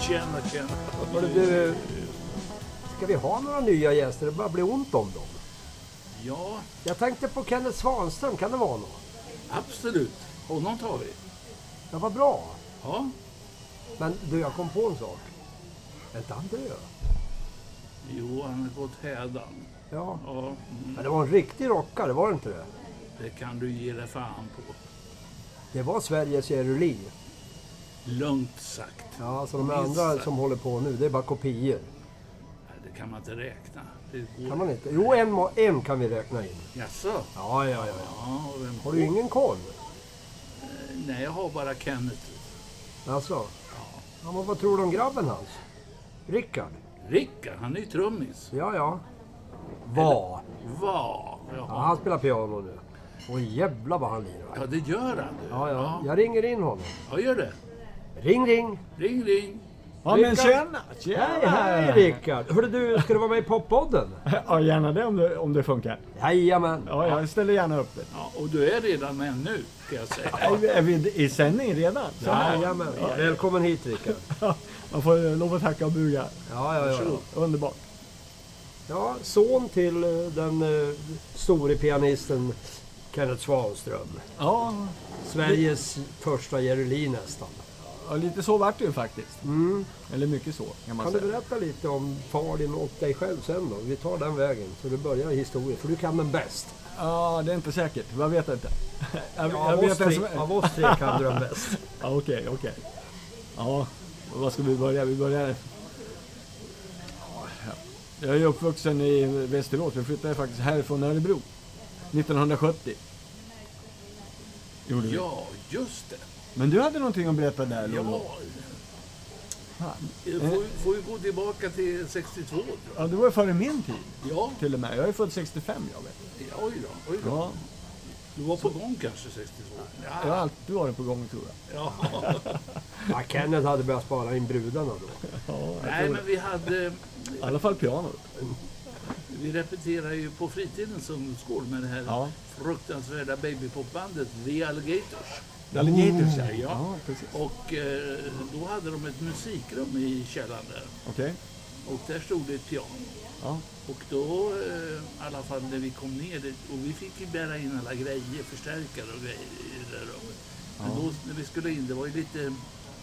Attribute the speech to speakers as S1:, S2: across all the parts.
S1: Tjena, tjena.
S2: Hörru du, ska vi ha några nya gäster? Det börjar bli ont om dem.
S1: Ja,
S2: Jag tänkte på Kenneth Svanström, kan det vara någon?
S1: absolut. Honom tar vi.
S2: Ja, vad bra.
S1: Ja,
S2: Men du, jag kom på en sak. Är inte han död?
S1: jo, han har gått hädan.
S2: Ja.
S1: Ja, mm,
S2: Men det var en riktig rockare, var det inte det?
S1: det kan du ge dig fan på.
S2: Det var Sveriges Jeruli.
S1: Lugnt sagt.
S2: Ja, så de
S1: Minst
S2: andra
S1: sagt.
S2: som håller på nu, det är bara kopior.
S1: Nej, Det kan man inte räkna. Det går
S2: Kan man inte? Jo, en, må- en kan vi räkna in.
S1: Jaså?
S2: Ja, ja, ja. ja.
S1: Ja, och vem
S2: Har du ingen koll?
S1: Nej, jag har bara Kenneth.
S2: Alltså. Ja, men vad tror du om grabben hans? Rickard?
S1: Rickard, han är ju trummis.
S2: Ja, ja. Var.
S1: Va?
S2: Ja,
S1: Ja.
S2: han spelar piano nu. Och jävla vad han lirar.
S1: ja, det gör han du.
S2: Ja, ja.
S1: ja.
S2: Jag ringer in honom.
S1: Ja, gör det.
S2: Ring, ring!
S1: Ring, ring.
S3: Ja men
S2: Rickard.
S3: tjena! tjena.
S2: Hej, hej Rickard! Hörru du, ska du vara med i poppodden?
S3: Ja gärna det om det, om det funkar.
S2: Jajamän!
S3: Ja, jag ställer gärna upp det.
S1: Ja, och du är redan med nu, kan jag säga.
S3: Är vi- Är vi i sändning redan? Så här.
S2: Jajamän! Välkommen hit Rickard!
S3: Ja, man får eh, lov att tacka och buga.
S2: Ja, ja, ja.
S1: Varsågod.
S3: Underbart.
S2: ja son till eh, den eh, store pianisten Kenneth Svanström.
S3: Ja,
S2: Sveriges första Jeruli nästan.
S3: ja, lite så vart det ju faktiskt.
S2: Mm.
S3: Eller mycket så kan man
S2: Kan du
S3: säga.
S2: berätta lite om far din och dig själv sen då? Vi tar den vägen, så du börjar historien. För du kan den bäst.
S3: Ja, det är inte säkert. Jag vet inte. Jag,
S2: Ja, av, oss
S3: vet
S2: tre,
S3: ens-
S2: av oss tre kan du den bäst.
S3: Ja, Okej, okej. Ja, och var ska vi börja? Vi börjar... Ja, Jag är uppvuxen i Västerås. Vi flyttade faktiskt härifrån Örebro. 1970. Gjorde vi.
S1: Ja, just det.
S3: Men du hade någonting att berätta där, Lollo.
S1: Ja.
S3: Fan.
S1: Eh, Får, vi- får vi gå tillbaka till 62 tror jag.
S3: Ja, det var ju före min tid
S1: Ja,
S3: till och med. Jag är född 65, jag vet.
S1: ja, oj då, oj då.
S3: Ja,
S1: Du var på gång kanske 62?
S3: jag har
S1: Ja.
S3: alltid varit på gång, tror jag.
S1: ja.
S2: Ja, Kenneth hade börjat spara in brudarna då.
S3: Ja, jag
S1: Nej,
S3: tror det.
S1: men vi hade...
S3: I alla fall pianot.
S1: Vi repeterade ju på fritiden som ungdomsgård med det här
S3: Ja.
S1: fruktansvärda babypopbandet The Alligators.
S3: Alligators, ja.
S1: ja.
S3: Ja, precis.
S1: Och eh, då hade de ett musikrum i källaren där.
S3: Okej.
S1: Och där stod det ett piano.
S3: Ja.
S1: Och då, eh, i alla fall när vi kom ner dit, och vi fick ju bära in alla grejer, förstärkare och grejer i det där rummet. Men
S3: Ja.
S1: då när vi skulle in, det var ju lite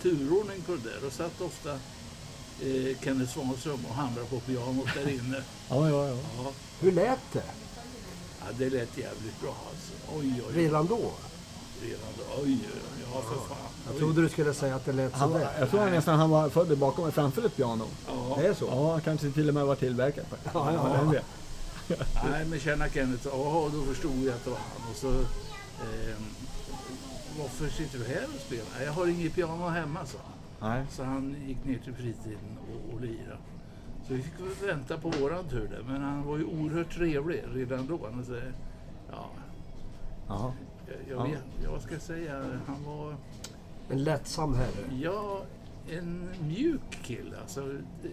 S1: turordning på det där. Och satt ofta eh, Kenneth Svanström och hamrade på pianot där inne.
S3: Ja, ja, ja.
S1: Ja,
S2: Hur lät det?
S1: ja det lät jävligt bra alltså. Oj, oj, oj.
S2: Redan då?
S1: Redan då. Oj, oj, oj. Ja, för fan.
S2: Jag
S1: Oj.
S2: trodde du skulle säga att det lät
S3: Han,
S2: sådär.
S3: jag tror nästan han var född bakom, framför ett piano.
S2: Det
S1: Ja,
S2: är så?
S3: Ja, kanske till och med var tillverkad. på det.
S2: Ja, ja, ja.
S3: Vem vet?
S1: nej, men tjena Kenneth. Ja, då förstod jag att det var han. Och så, ehm, varför sitter du här och spelar? "Nej, Jag har inget piano hemma, sa han.
S3: Nej.
S1: Så han gick ner till fritiden och, och lirade. Så vi fick väl vänta på våran tur där. Men han var ju oerhört trevlig redan då. Han så, ja,
S3: Ja.
S1: jag,
S3: Ja.
S1: jag vet, ja, vad ska jag säga? Han var,
S2: En lättsam herre.
S1: ja, en mjuk kille. Alltså, det-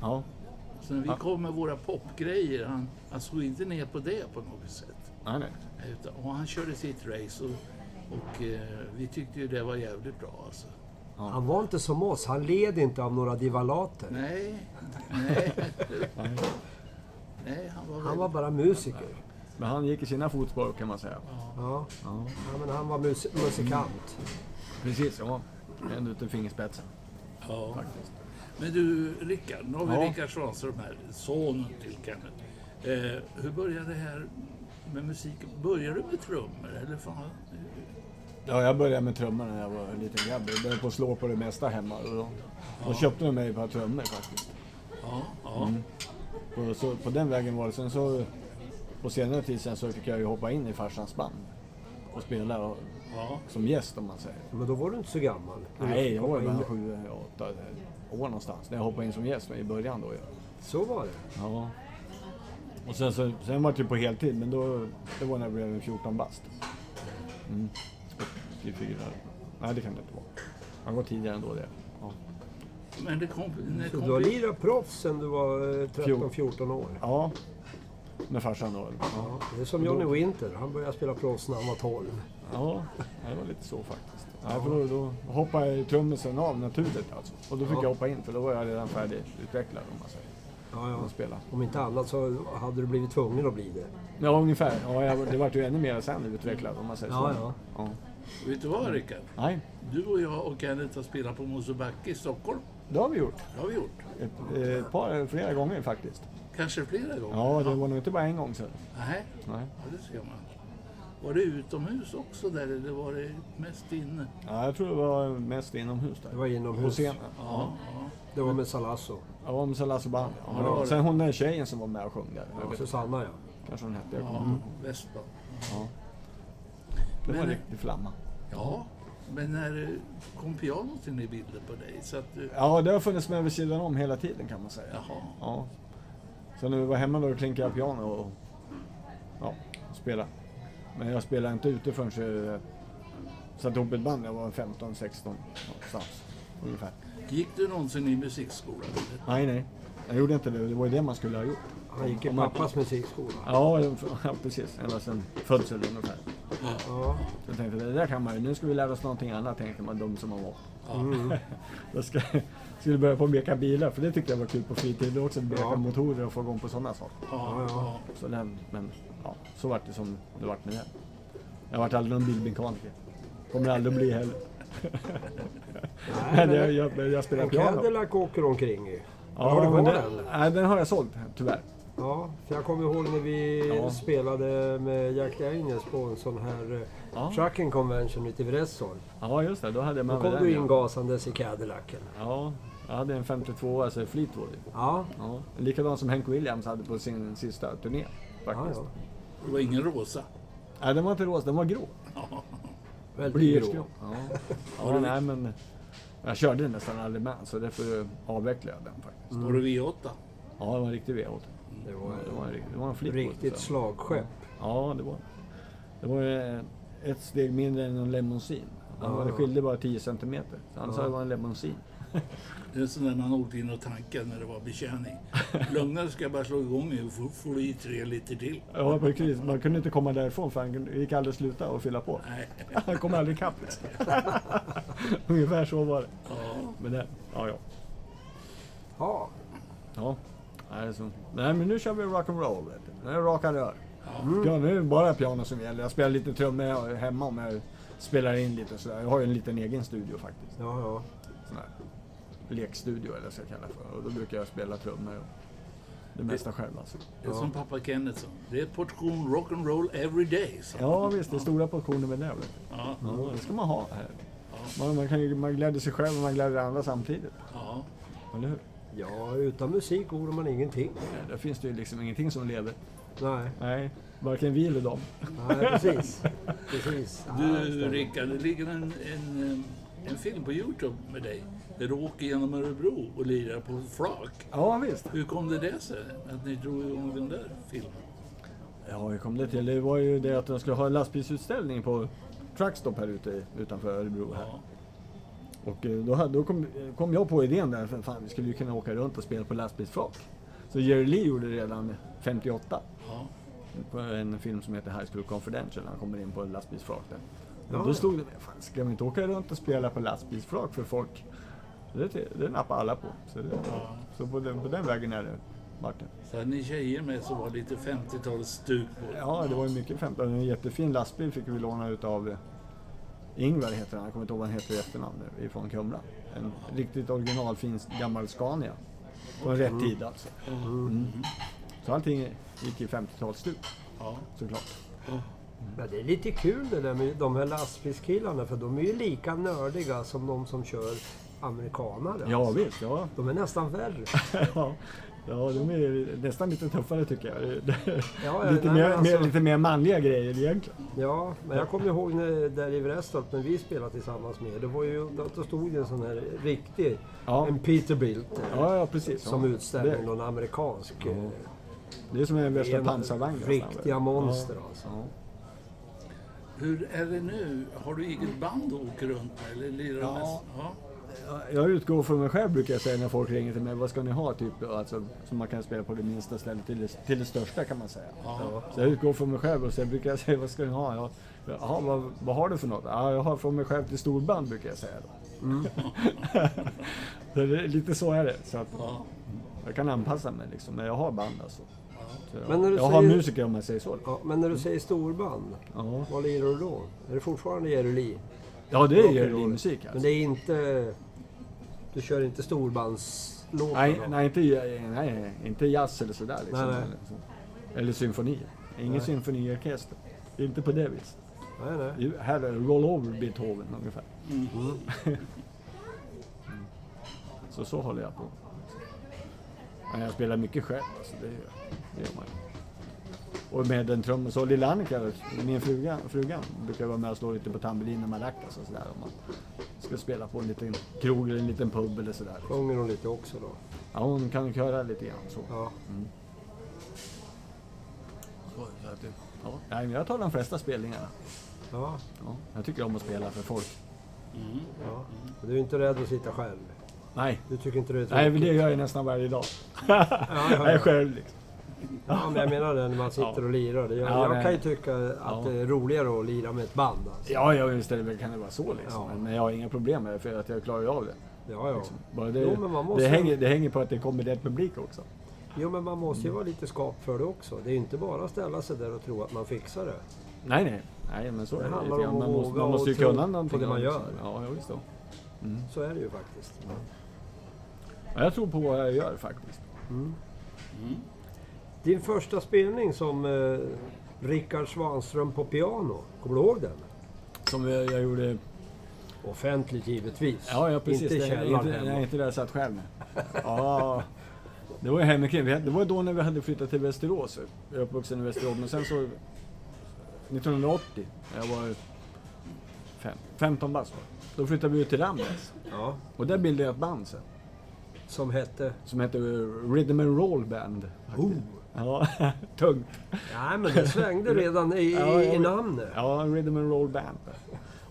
S3: ja.
S1: så när vi
S3: Ja.
S1: kom med våra popgrejer, han, han slog inte ner på det på något sätt.
S3: Nej, nej.
S1: Utan, och han körde sitt race och, och eh, vi tyckte ju det var jävligt bra alltså.
S2: Han var inte som oss, han led inte av några divalater.
S1: Nej, nej. nej, han var,
S2: Han
S1: väldigt-
S2: var bara musiker.
S3: Men han gick i sina fotspår kan man säga.
S2: Ja,
S3: Ja.
S2: ja men han var mus musikant.
S3: Precis, ja. Ända ut i fingerspetsen.
S1: Ja. Men du, Rickard, nu har vi
S3: Ja.
S1: Rickard Svanström här, sonen till Kenneth. Eh, hur började det här med musik? Började du med trummor? Eller fan?
S3: Ja, jag började med trummor när jag var en liten grabb. Jag började på att slå på det mesta hemma. Och då, då köpte de mig ett par trummor faktiskt.
S1: Ja, ja.
S3: Och så, på den vägen var det. Sen så på senare tid sen så fick jag ju hoppa in i farsans band och spela och,
S1: ja.
S3: som gäst om man säger.
S2: Men då var du inte så gammal.
S3: Nej, jag var ju
S2: Hoppa in
S3: bara
S2: där.
S3: sju, åtta eh, år någonstans när jag hoppade in som gäst i början då. Ja.
S2: Så var det.
S3: Ja. Och sen, så, sen var det ju på heltid, men då, det var när jag blev 14 bast. Mm. 24. Nej, det kan det inte vara. Han var tidigare ändå det. Ja,
S1: Men det kom... När
S2: Så
S1: kom
S2: du har
S1: vi-
S2: lirat proffs sen du var
S3: Fjol-
S2: 13-14 år?
S3: ja. med farsan då. Ja.
S2: Ja, det är som Johnny Winter, han började spela proffs när han var 12.
S3: ja, det var lite så faktiskt. Nej, för då, då hoppade trummisen av naturligt alltså. Och då fick
S2: Ja.
S3: jag hoppa in för då var jag redan färdigutvecklad om man säger.
S2: Ja,
S3: Om
S2: ja.
S3: man spelar.
S2: Om inte annat så hade du blivit tvungen att bli det.
S3: Ja, ungefär. Ja, jag, det vart ju ännu mer sen utvecklad om man säger
S2: Ja,
S3: så.
S2: ja.
S3: ja.
S1: Vet du vad Rickard?
S3: Nej,
S1: Du och jag och Kenneth har spelat på Mosebacke i Stockholm.
S3: det har vi gjort.
S1: Det har vi gjort.
S3: Ett, ett par, flera gånger faktiskt.
S1: Kanske flera gånger.
S3: Ja, det var nog inte bara en gång sen.
S1: Nej,
S3: Nej.
S1: ja, det ser man. Var det utomhus också där eller var det mest inne?
S3: Ja, jag tror det var mest inomhus där.
S2: Det var
S3: På
S2: inomhus.
S3: scenen.
S1: Ja. ja.
S2: Det var med Salasso.
S3: Ja, om Salasso Band. Ja,
S1: det var det.
S3: Sen hon den tjejen som var med och sjöng där. Jag
S2: Ja,
S3: vet inte,
S2: Susanna ja.
S3: Kanske hon hette. Jag kommer
S1: ja.
S3: inte ihåg.
S1: Västman.
S3: Ja. Det var
S1: Men-
S3: en riktig flamma.
S1: Ja, men när eh, kom pianot in i bilden på dig? Så att du...
S3: Ja, det har funnits med vid sidan om hela tiden kan man säga.
S1: Jaha.
S3: Ja. Så när vi var hemma då klinkade jag piano och ja, spelade. Men jag spelade inte ute förrän jag eh, satte ihop ett band. Jag var 15, 16 någonstans ungefär.
S1: Gick du någonsin i musikskolan? eller?
S3: Nej, nej. Jag gjorde inte det. Det var ju det man skulle ha gjort.
S2: Han gick i
S3: Om man-
S2: pappas musikskola.
S3: Ja, ja, precis. Ända sedan födseln ungefär.
S2: Ja.
S3: Så jag tänkte, det där kan man ju. Nu ska vi lära oss någonting annat, tänkte man, dum som man var.
S1: Ja.
S3: Jag ska, skulle börja på att meka bilar, för det tyckte jag var kul på fritiden också. Meka
S2: Ja.
S3: motorer och få igång på sådana saker.
S1: Ja, ja.
S3: Så det, men ja, så vart det som det vart med det. Jag vart aldrig någon bilmekaniker. Kommer aldrig bli heller.
S2: Nej,
S3: Men jag,
S2: men
S3: jag, jag, jag spelar
S2: en
S3: piano.
S2: Cadillac åker omkring i.
S3: Ja,
S2: har du kvar
S3: men
S2: den?
S3: Nej, den har jag sålt tyvärr.
S2: Ja, för jag kommer ihåg när vi
S3: Ja.
S2: spelade med Jack Daniels på en sån här eh,
S3: Ja.
S2: Trucking Convention ute i Vresholm.
S3: Ja, just det. Då hade jag
S2: Då
S3: med mig
S2: kom
S3: den.
S2: du
S3: ja.
S2: ingasandes i Cadillacen.
S3: Ja, jag hade en 52 alltså Fleetwood.
S2: Ja,
S3: Ja. Likadan som Hank Williams hade på sin sista turné.
S2: ja,
S3: Faktiskt.
S2: ja.
S1: Det var ingen rosa.
S3: Nej, den var inte rosa, den var grå.
S2: Väldigt
S3: Blyertsgrå.
S2: grå.
S3: Ja. ja, nej men. Jag körde nästan aldrig med så därför avvecklade jag den
S2: Mm.
S3: faktiskt.
S1: Var det V8?
S3: Ja, det var en riktig V8.
S2: Det
S3: Ja, Det
S2: var
S3: var en, rikt- det var en
S2: ett
S3: Fleetwood.
S2: riktigt
S3: så.
S2: slagskepp.
S3: Ja, det var det. var eh, ett steg mindre än en limousin. Han
S2: Ja,
S3: det
S2: ja.
S3: skilde bara 10 centimeter. Så Han sa
S2: Ja.
S3: det var en limousin.
S1: Det är sån där man åkte in och tankade när det var betjäning. Lugnare ska jag bara slå igång nu och får- får du i tre liter till.
S3: Ja, precis. Man kunde inte komma därifrån för han kunde- gick aldrig sluta och fylla på.
S1: Nej.
S3: Han kom aldrig ikapp. liksom. Ungefär så var det.
S1: Ja.
S3: Men det, ja, ja.
S2: Ja,
S3: Ja. Nej, så, nej, men nu kör vi rock'n'roll. vet du. Nu är det raka rör. Mm. Ja, nu är det bara piano som gäller. Jag spelar lite trummor hemma om jag spelar in lite sådär. Jag har ju en liten egen studio faktiskt.
S2: ja, ja.
S3: Sån här lekstudio eller vad jag ska kalla det för. Och då brukar jag spela trummor och det mesta själv alltså.
S1: Det är som pappa Kenneth sa. Det är portion rock'n'roll every day. Så.
S3: Ja visst, det är stora portioner med det. Vet du.
S1: Ja,
S3: Ja, det ska man ha här. Man, man, kan ju, man gläder sig själv och man gläder andra samtidigt.
S1: ja.
S3: Eller hur?
S2: Ja, utan musik vore man ingenting.
S3: Nej, Där finns det ju liksom ingenting som lever.
S2: Nej,
S3: Nej, varken vi eller dem.
S2: nej precis. precis. Ja, det
S1: Du
S2: stämmer.
S1: Rickard, det ligger en, en, eh, en film på Youtube med dig. Där du åker genom Örebro och lirar på flak.
S3: Ja visst.
S1: Hur kom det det sig att ni drog igång den där filmen?
S3: Ja, hur kom det till? Det var ju det att de skulle ha en lastbilsutställning på Truckstop här ute i- utanför Örebro. Här.
S1: Ja.
S3: Och eh, då, hade- då kom, kom jag på idén där, för fan vi skulle ju kunna åka runt och spela på lastbilsflak. Så Jerry Lee gjorde det redan 58
S1: Ja.
S3: på en film som heter High School Confidential. Han kommer in på en lastbilsflak där.
S2: Ja,
S3: Och
S2: ja.
S3: då stod det, fan ska vi inte åka runt och spela på lastbilsflak för folk? Det, det nappade alla på. Så, det, så på, den, på den vägen är det, Martin.
S1: Så hade ni tjejer med som var lite 50-talsstuk på
S3: Ja, det var ju mycket 15. En jättefin lastbil fick vi låna utav eh, Ingvar heter han, jag kommer inte ihåg vad han heter i efternamn nu, ifrån Kumla. En riktigt originalfin gammal Scania. Från rätt tid alltså. Mm. Så allting gick i 50-talsstuk
S1: Ja.
S3: såklart.
S2: Men det är lite kul det där med de här lastbilskillarna för de är ju lika nördiga som de som kör amerikanare.
S3: Ja visst, ja.
S2: De är nästan värre.
S3: ja. Ja, de är ju nästan lite tuffare tycker jag.
S2: Ja, ja,
S3: lite,
S2: nej,
S3: mer,
S2: men alltså-
S3: mer, lite mer manliga grejer egentligen.
S2: Ja, men jag kommer ihåg när, där i Vrestorp när vi spelade tillsammans med er. Det var ju, då då stod ju en sån här riktig,
S3: Ja.
S2: en Peterbilt eh,
S3: Ja, ja precis.
S2: som
S3: ja.
S2: utställning,
S3: Det,
S2: någon amerikansk. eh,
S3: det är som en värsta
S2: en-
S3: pansarvagn. nästan.
S2: Riktiga monster alltså.
S3: Ja.
S1: Hur är det nu? Har du eget band och åker runt med? Eller lirar
S3: Ja.
S1: mest? Ja.
S3: Jag utgår från mig själv brukar jag säga när folk ringer till mig. Vad ska ni ha? Typ, alltså, som man kan spela på det minsta stället till det, till det största kan man säga.
S1: Ja.
S3: Så jag utgår från mig själv och sen brukar jag säga vad ska ni ha? Ja, Jaha, vad, vad har du för något? Ja, jag har från mig själv till storband brukar jag säga. Då.
S2: Mm.
S3: så det är lite så är det. Så att,
S1: Ja.
S3: jag kan anpassa mig liksom. Men jag har band alltså. Så jag
S2: Men när du
S3: jag har
S2: säger-
S3: musiker om man säger så.
S2: Ja, men när du säger storband,
S3: Ja,
S2: vad lirar du då? Är det fortfarande Jeruli?
S3: ja det är
S2: Rock'n'roll.
S3: ju musik
S2: Men
S3: alltså.
S2: det är inte... Du kör inte storbandslåtar
S3: Nej,
S2: då?
S3: nej, inte, nej, inte jazz eller sådär. Liksom.
S2: Nej, nej.
S3: Eller, så. eller symfoni. Ingen
S2: Nej.
S3: symfoniorkester. Inte på det viset.
S2: nej, nej.
S3: Ju- Här är roll over Beethoven ungefär.
S2: Mm.
S3: Så så håller jag på. Men jag spelar mycket själv. Alltså, det, gör- det gör man ju. Och med den trummen. Så lilla Annika, min fruga, frugan, brukar vara med och slå lite på tambelin och maracas och sådär. Om man ska spela på en liten krog eller en liten pub eller sådär.
S2: Sjunger hon lite också då?
S3: Ja, hon kan ju köra lite grann så.
S2: Ja.
S1: Så att det-
S3: Ja. Nej, men jag tar de flesta spelningarna.
S2: Ja,
S3: Ja, jag tycker om att spela för folk.
S1: Mm.
S2: ja. Men Du är inte rädd att sitta själv?
S3: Nej,
S2: Du tycker inte det är
S3: Nej
S2: tråkigt?
S3: men det gör jag nästan varje dag.
S2: ja.
S3: Jag är själv liksom.
S2: Ja, men jag menar det när man sitter
S3: Ja.
S2: och lirar. Det- Jag,
S3: Ja,
S2: jag
S3: det-
S2: kan ju tycka att
S3: ja.
S2: det är roligare att lira med ett band. Alltså.
S3: Ja, ja visst är det, väl- kan det vara så liksom.
S2: Ja.
S3: Men- Men jag har inga problem med det för att jag klarar ju av det.
S2: Ja, ja.
S3: Liksom. Bara det,
S2: Jo, men man måste-
S3: det, hänger, det hänger på att det kommer rätt publik också.
S2: Jo, men man måste ju vara lite skap för det också. Det är ju inte bara att ställa sig där och tro att man fixar det.
S3: Nej, nej. Nej, men så
S2: Det
S3: är det.
S2: handlar
S3: lite grann.
S2: om
S3: Man
S2: att
S3: måste,
S2: våga
S3: man måste ju
S2: och tro
S3: kunna
S2: på
S3: någonting.
S2: det man
S3: liksom.
S2: gör.
S3: Ja, jo, visst då.
S2: Så är det ju faktiskt.
S3: Ja, jag tror på vad jag gör faktiskt.
S2: Din första spelning som eh, Rickard Svanström på piano, kommer du ihåg den?
S3: Som jag, jag gjorde...
S2: Offentligt givetvis.
S3: Ja, ja precis.
S2: Inte i
S3: Det-
S2: källaren
S3: inte,
S2: hemma.
S3: nej, inte där jag satt själv. nej. Ja, det var ju hemikring. Det var då när vi hade flyttat till Västerås. Jag är uppvuxen i Västerås, men sen så... 1980, när jag var fem, 15 bast, då flyttade vi ut till Ramnäs.
S2: Ja,
S3: Och där bildade jag ett band sen,
S2: som hette...
S3: som hette Rhythm and Roll Band.
S2: Oh.
S3: Ja, tungt.
S2: Nej, men det svängde redan i, i,
S3: Ja, jag
S2: i
S3: vet.
S2: namnet.
S3: Ja, Rhythm and Roll Band.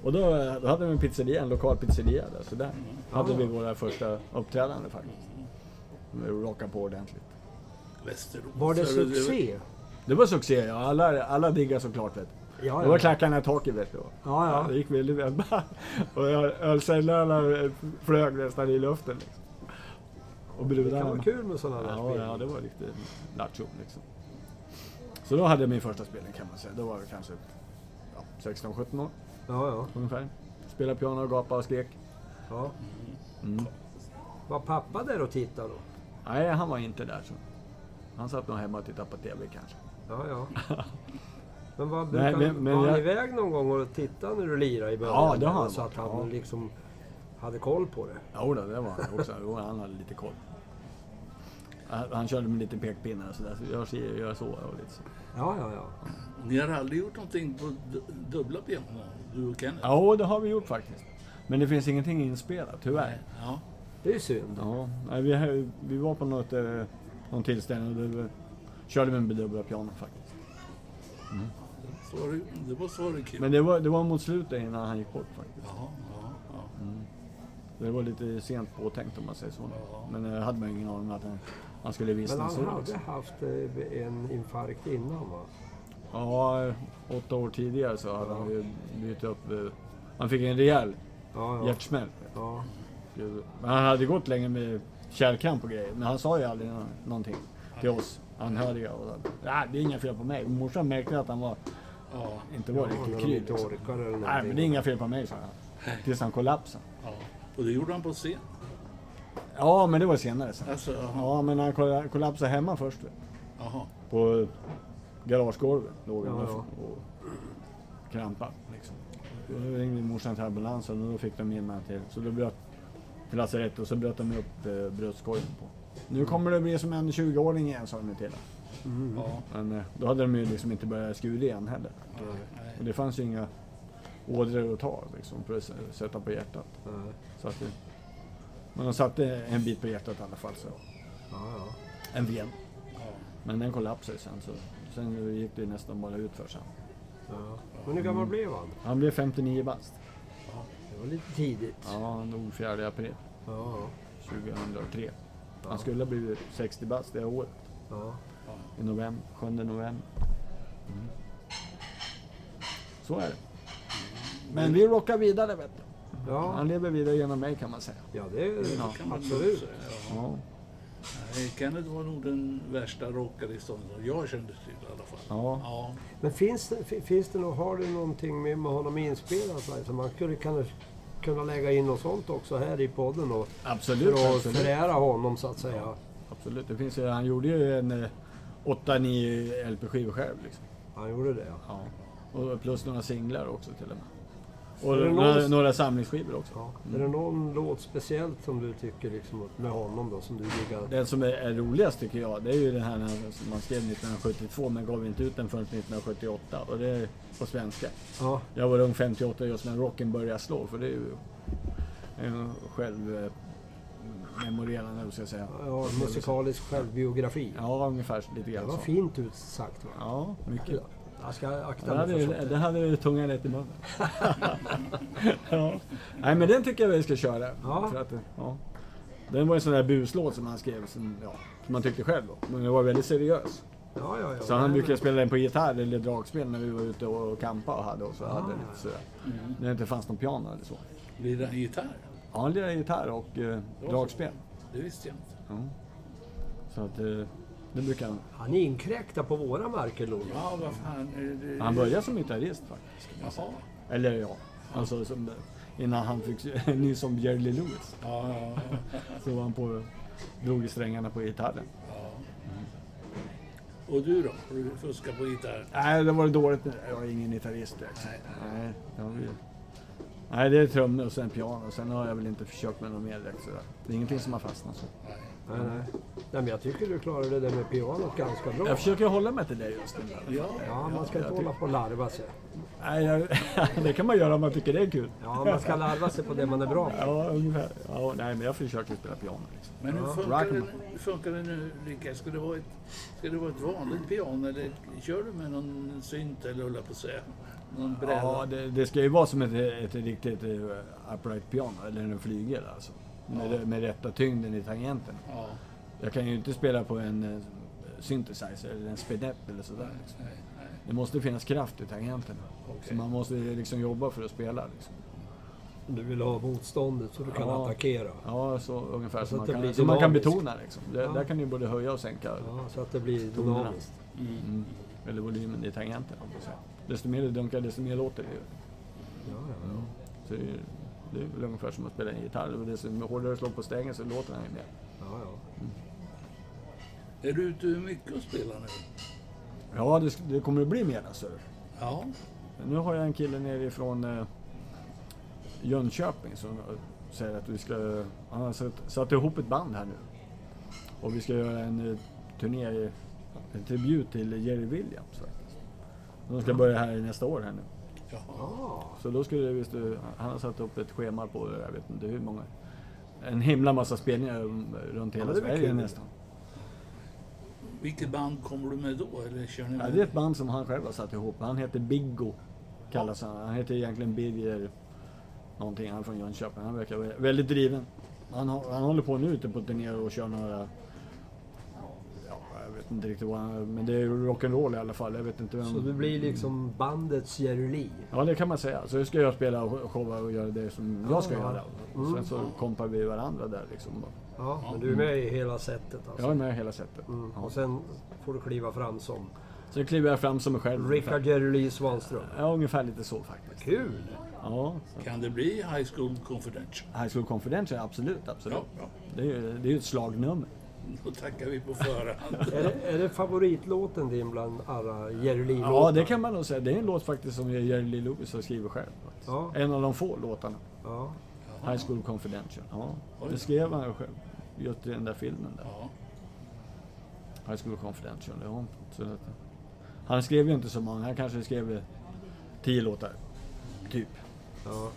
S3: Och då, då hade vi en pizzeria, en lokal pizzeria där. Så där hade vi våra första uppträdande faktiskt. Vi rockade på ordentligt.
S1: Västerås.
S2: Var det
S1: Så är
S2: succé?
S3: Det var succé, ja. Alla, alla diggar såklart. Vet. du.
S2: Ja,
S3: Det var klackarna i taket vet du.
S2: Ja, ja.
S3: Det gick väldigt väl. Och jag- ölsäljrarna flög nästan i luften. Liksom. Och
S2: Det kan
S3: brudarna.
S2: vara kul med sådana där
S3: Ja,
S2: spel.
S3: ja, det var riktigt nacho liksom. Så då hade jag min första spelning kan man säga. Då var jag kanske ja, 16-17 år
S2: Ja, ja.
S3: ungefär. Spelade piano och gapade och skrek.
S2: ja.
S3: Mm.
S2: Var pappa där och tittade då?
S3: Nej, han var inte där. Så. Han satt nog hemma och tittade på TV kanske.
S2: Ja, ja. Men vad
S3: Nej,
S2: brukar
S3: men- men
S2: var han
S3: jag-
S2: iväg någon gång och tittade när du lirade i början?
S3: Ja, det har han
S2: Så att han
S3: varit, ja.
S2: liksom hade koll på det.
S3: Jo, då, det var han också. Jo, han hade lite koll. Han han körde med lite pekpinnar och sådär. Så jag ser, gör så och lite så.
S2: Ja, ja, ja.
S1: det- Ni har aldrig gjort någonting på du- dubbla pianon? Du och Kenneth?
S3: Jo, det har vi gjort faktiskt. Men det finns ingenting inspelat, tyvärr.
S1: Ja.
S2: Det är ju synd.
S3: Ja, nej, vi, vi var på något, eh, någon tillställning och då körde vi med dubbla pianon faktiskt.
S1: Så var det- Det var så var det kul.
S3: Men det var, det var mot slutet innan han gick bort faktiskt.
S1: Ja, ja, ja.
S3: Det var lite sent påtänkt om man säger så.
S1: Ja.
S3: Men jag hade man ju ingen aning om att han, han skulle visa
S2: Men
S3: den
S2: han
S3: så.
S2: hade
S3: liksom.
S2: haft eh, en infarkt innan va?
S3: Ja, åtta år tidigare så hade han ju bytt upp. eh, Han fick en rejäl
S2: Ja, ja.
S3: hjärtsmäll.
S2: ja.
S3: Gud. Men han hade gått länge med kärlkramp och grejer, men han sa ju aldrig nå- någonting till oss anhöriga. Och så, "Nej, det är inga fel på mig. Och Morsan märkte att han var,
S1: ja,
S3: inte var
S2: När
S3: riktigt
S2: de
S3: kry.
S2: inte
S3: Liksom.
S2: orkar eller
S3: Nej, men det är
S2: någonting.
S3: inga fel på mig, sa han. Tills han kollapsade.
S1: ja. Och det gjorde han på scen.
S3: Ja, men det var senare sen.
S1: Alltså, jaha.
S3: Ja, men han kolla- kollapsade hemma först. vet
S1: jaha.
S3: du. På garagegolvet låg han
S2: Ja,
S3: och, och krampade. Liksom. Och då ringde morsan till ambulansen och då fick de in honom till, så då bröt, till lasarettet och så bröt de upp eh, bröstkorgen på. Nu kommer det bli som en 20-åring igen, sa de ju till honom.
S1: Ja.
S3: Men eh, då hade de ju liksom inte börjat skura igen heller.
S1: Nej.
S3: Och det fanns ju inga ådror att ta liksom, för att s- sätta på hjärtat.
S2: Nej.
S3: Så att det, men de satte en bit på hjärtat i alla fall. Så.
S2: Ja, ja.
S3: En ven.
S1: Ja.
S3: Men den kollapsade sen. Så, sen gick det ju nästan bara ut för sen.
S2: ja. Men hur gammal blev han?
S3: Han blev 59 bast.
S1: Ja.
S2: Det var lite tidigt.
S3: Ja, han dog 4 april
S2: Ja,
S3: 2003.
S2: Ja.
S3: Han skulle ha blivit 60 bast det året.
S2: ja.
S3: I november, 7 november. Mm. Så är det. Men vi rockar vidare vet du.
S2: ja.
S3: Han lever vidare genom mig kan man säga.
S2: ja det är
S3: Ja.
S1: kan man
S2: absolut.
S1: nog säga, ja.
S3: Ja,
S1: Nej, Kenneth var nog den värsta rockare i stan som jag kände till i alla fall.
S3: ja.
S1: Ja,
S2: Men finns det, fi- finns det något, har du någonting med, med honom inspelat? Alltså, man skulle kunna, kunna lägga in något sånt också här i podden och
S3: absolut.
S2: för att
S3: absolut.
S2: förära honom så att säga.
S3: absolut. Det finns ju, han gjorde ju en eh, 8-9 LP-skivor själv. Liksom.
S2: Han gjorde det.
S3: Ja. Och plus några singlar också till och med.
S2: Är det
S3: Och några,
S2: någon-
S3: några samlingsskivor också.
S2: Ja. Är det någon låt speciellt som du tycker liksom, med honom då som du diggar?
S3: Den som är, är roligast tycker jag, det är ju den här när- som man skrev 1972 men gav inte ut den förrän 1978 och det är på svenska.
S2: Ja,
S3: Jag var ung 58 just när rocken började slå för det är ju en själv eh, memorerande, eller vad ska jag säga.
S2: ja, musikalisk självbiografi.
S3: Ja, ungefär lite
S2: Det
S3: grann
S2: var
S3: så.
S2: fint utsagt. Va?
S3: Ja, mycket.
S2: Jag ska
S3: Det
S2: akta
S3: hade,
S2: mig
S3: ju,
S2: för sånt.
S3: det hade ju tungan rätt i munnen. ja. Nej men den tycker jag vi ska köra.
S2: Ja.
S3: För att, ja. Den var en sån där buslåt som han skrev som, ja, som man tyckte själv då. Men den var väldigt seriös.
S2: Ja, ja, ja.
S3: Så han
S2: Nej,
S3: brukade spela den på gitarr eller dragspel när vi var ute och kampa och hade och så hade lite sådär. När det inte fanns någon piano eller så.
S1: lirade han gitarr?
S3: Ja, han lirade gitarr och eh, dragspel.
S1: Det visste jag inte.
S3: Ja. Så att eh, det brukar han.
S2: Han inkräktar på våra marker, Lollo.
S1: Ja, vad fan. eh, det-
S3: Han började som gitarrist faktiskt.
S1: Jaha.
S3: Eller ja, alltså som, innan han fick nys om Jerry Lewis.
S1: Ja, ja, ja.
S3: Så var han på, drog i strängarna på gitarren.
S1: ja. Mm. Och du då? Har du fuskat på gitarr?
S3: Nej, det var det dåligt. Jag är ingen gitarrist direkt.
S1: Nej.
S3: Nej, det, har vi... Nej, det är trummor och sen piano. Sen har jag väl inte försökt med något mer direkt sådär. Det är ingenting som har fastnat så.
S1: Nej.
S2: Nej, nej. nej, men jag tycker du klarade det där med pianot ganska bra.
S3: Jag försöker hålla mig till det just nu.
S1: Ja,
S2: Ja, man ska
S3: jag
S2: inte hålla på och larva sig.
S3: Nej, jag... det kan man göra om man tycker det är kul.
S2: Ja, man ska larva sig på det man är bra på.
S3: Ja, ungefär. Ja, nej, men jag försöker spela piano. Liksom.
S1: men hur
S2: Ja,
S1: funkar,
S3: rock'n'roll.
S1: det, hur funkar det nu, Rickard? Ska det vara ett, ska det vara ett vanligt piano eller kör du med någon synt eller höll jag på att säga? Någon bräda?
S3: Ja, det, det ska ju vara som ett, ett riktigt eh, upright piano, eller en flygel alltså. Med, med rätta tyngden i tangenten.
S1: Ja,
S3: Jag kan ju inte spela på en eh, synthesizer eller en spinett eller sådär. Liksom.
S1: nej, nej.
S3: Det måste finnas kraft i tangenterna. Så
S1: Okej.
S3: man måste ju liksom jobba för att spela. Liksom.
S2: Du vill ha motståndet så du kan
S3: Ja.
S2: attackera.
S3: Ja, så ungefär
S2: Och så
S3: som
S2: att
S3: man
S2: det
S3: kan,
S2: blir
S3: så man kan
S2: dynamiskt.
S3: betona. Liksom. Det,
S2: Ja.
S3: Där kan du både höja och sänka
S2: Ja, så att det blir
S3: Tonerna.
S2: dynamiskt.
S3: mm, eller volymen i tangenten. om man säger. Desto mer du dunkar, desto mer låter det ju.
S2: Ja, ja,
S3: Så det, är ju- det är väl ungefär som att spela en gitarr. Och Desto hårdare du slår på strängen så låter den ju mer.
S2: ja, ja.
S1: Är du ute mycket och spelar nu?
S3: Ja, det, sk- det kommer att bli mer alltså.
S1: Ja.
S3: Nu har jag en kille nerifrån eh, Jönköping som eh, säger att vi ska... Han har satt, satt ihop ett band här nu. Och vi ska göra en eh, turné, i- en tribut till Jerry Williams faktiskt. De ska börja här i nästa år här nu.
S1: Jaha.
S2: ja.
S3: Så då skulle det visst... eh, Han har satt upp ett schema på, jag vet inte hur många. En himla massa spelningar eh, runt hela
S2: det blir
S3: Sverige
S2: kul.
S3: nästan.
S1: Vilket band kommer du med då? Eller kör ni
S3: Ja,
S1: med?
S3: det är ett band som han själv har satt ihop. Han heter Biggo. Kallas han. Han heter egentligen Birger någonting. Han är från Jönköping. Han verkar vara väldigt driven. Han, hå- han håller på nu ute på turné och kör några... Ja, jag vet inte riktigt vad han... Men det är rock'n'roll i alla fall. Jag vet inte vem...
S2: Så du blir liksom bandets Jerry Lee.
S3: Ja, det kan man säga. Så ska jag spela och showa och göra det som jag ska
S2: Ja, Mm. ja.
S3: göra. Och sen så kompar vi varandra där liksom.
S2: Ja, men du är med i hela sättet alltså.
S3: Jag är med hela sättet.
S2: Mm.
S3: Ja.
S2: Och sen får du kliva fram som
S3: Så kliver jag fram som mig själv.
S2: Rickard Jerry Lee Svanström.
S3: Ja, ungefär lite så faktiskt.
S2: Kul!
S3: Ja, så.
S1: Kan det bli High School Confidential?
S3: High School Confidential, absolut. absolut.
S1: Ja, ja.
S3: Det är ju det är ju ett slagnummer.
S1: Då tackar vi på förhand.
S2: Är det, är det favoritlåten din bland alla Jerry Lee-låtar?
S3: Ja, det kan man nog säga. Det är en låt faktiskt som Jerry Lee Lewis har skrivit själv. faktiskt.
S2: Ja.
S3: En av de få låtarna.
S2: Ja.
S1: Ja.
S3: High School Confidential. Ja.
S1: Oj.
S3: Det skrev han ju själv. Just i den där filmen där.
S1: Ja.
S3: High School Confidential. Ja. Så att, han skrev ju inte så många. Han kanske skrev eh, tio låtar. Typ.
S2: ja.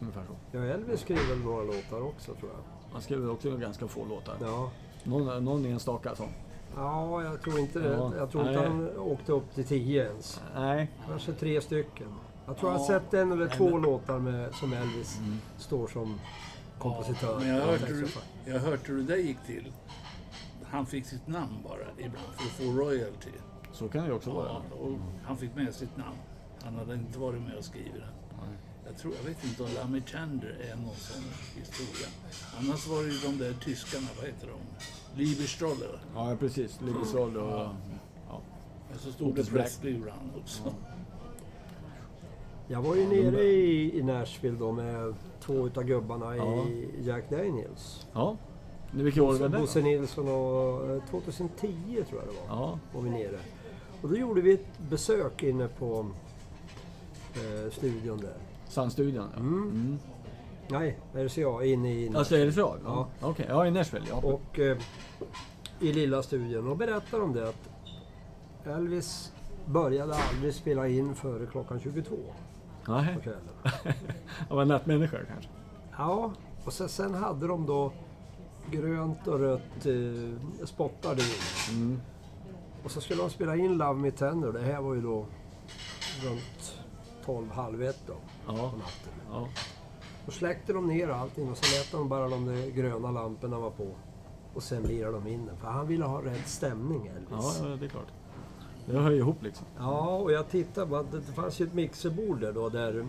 S3: Ungefär så.
S2: Ja, Elvis skrev väl några låtar också tror jag.
S3: Han skrev också ganska få låtar.
S2: Ja,
S3: Någon, någon enstaka sång.
S2: ja jag tror inte det.
S3: Ja.
S2: Jag tror inte
S3: Nej.
S2: han åkte upp till tio ens.
S3: Nej.
S2: Kanske tre stycken. Jag tror jag har
S1: Ja.
S2: sett en eller två
S1: Men-
S2: låtar med, som Elvis
S3: Mm.
S2: står som kompositör.
S1: Ja, men jag
S2: och
S1: hörde, hur,
S2: textförfattare.
S1: jag hörde hur det där gick till. Han fick sitt namn bara ibland för att få royalty.
S3: Så kan det ju också vara.
S1: Ja, och han fick med sitt namn. Han hade inte varit med och skrivit den. Jag, tror, jag vet inte om Lammy Chander är någon sån historia. Annars var det ju de där tyskarna, vad heter de? Lieberstroller.
S3: Ja, precis. Libbesroll och... Ja.
S1: Och så stod det
S3: Otis Black.
S1: Presley Run också.
S2: Jag var ju nere i, i Nashville då med två utav gubbarna i Jack Daniels.
S3: ja. Nu, Vilket år var det?
S2: Bosse
S3: då?
S2: Nilsson och eh, 2010 tror jag det var.
S3: Ja.
S2: var vi nere. Och då gjorde vi ett besök inne på eh, studion där.
S3: Sandstudion, ja. Mm.
S2: Nej, RCA inne i...
S3: Alltså är det så?
S2: Ja.
S3: Okej, ja i Nashville ja.
S2: Och eh, i lilla studion. Och berättar om det att Elvis började aldrig spela in före klockan 22
S3: Nej,
S2: på kvällen.
S3: av en nattmänniska kanske.
S2: Ja, och sen, sen hade de då grönt och rött eh, spottar där inne.
S3: Mm.
S2: Och så skulle de spela in Love Me Tender. Det här var ju då runt 12, halv ett då på
S3: Ja.
S2: natten.
S3: ja.
S2: Då släckte de ner allting och så lät de bara de där gröna lamporna vara på. Och sen lirade de in den, för han ville ha rätt stämning
S3: Ja,
S2: Elvis. Ja,
S3: ja, det är klart. Det hör ju ihop liksom.
S2: och jag tittade, bara, det det fanns ju ett mixerbord där då, där,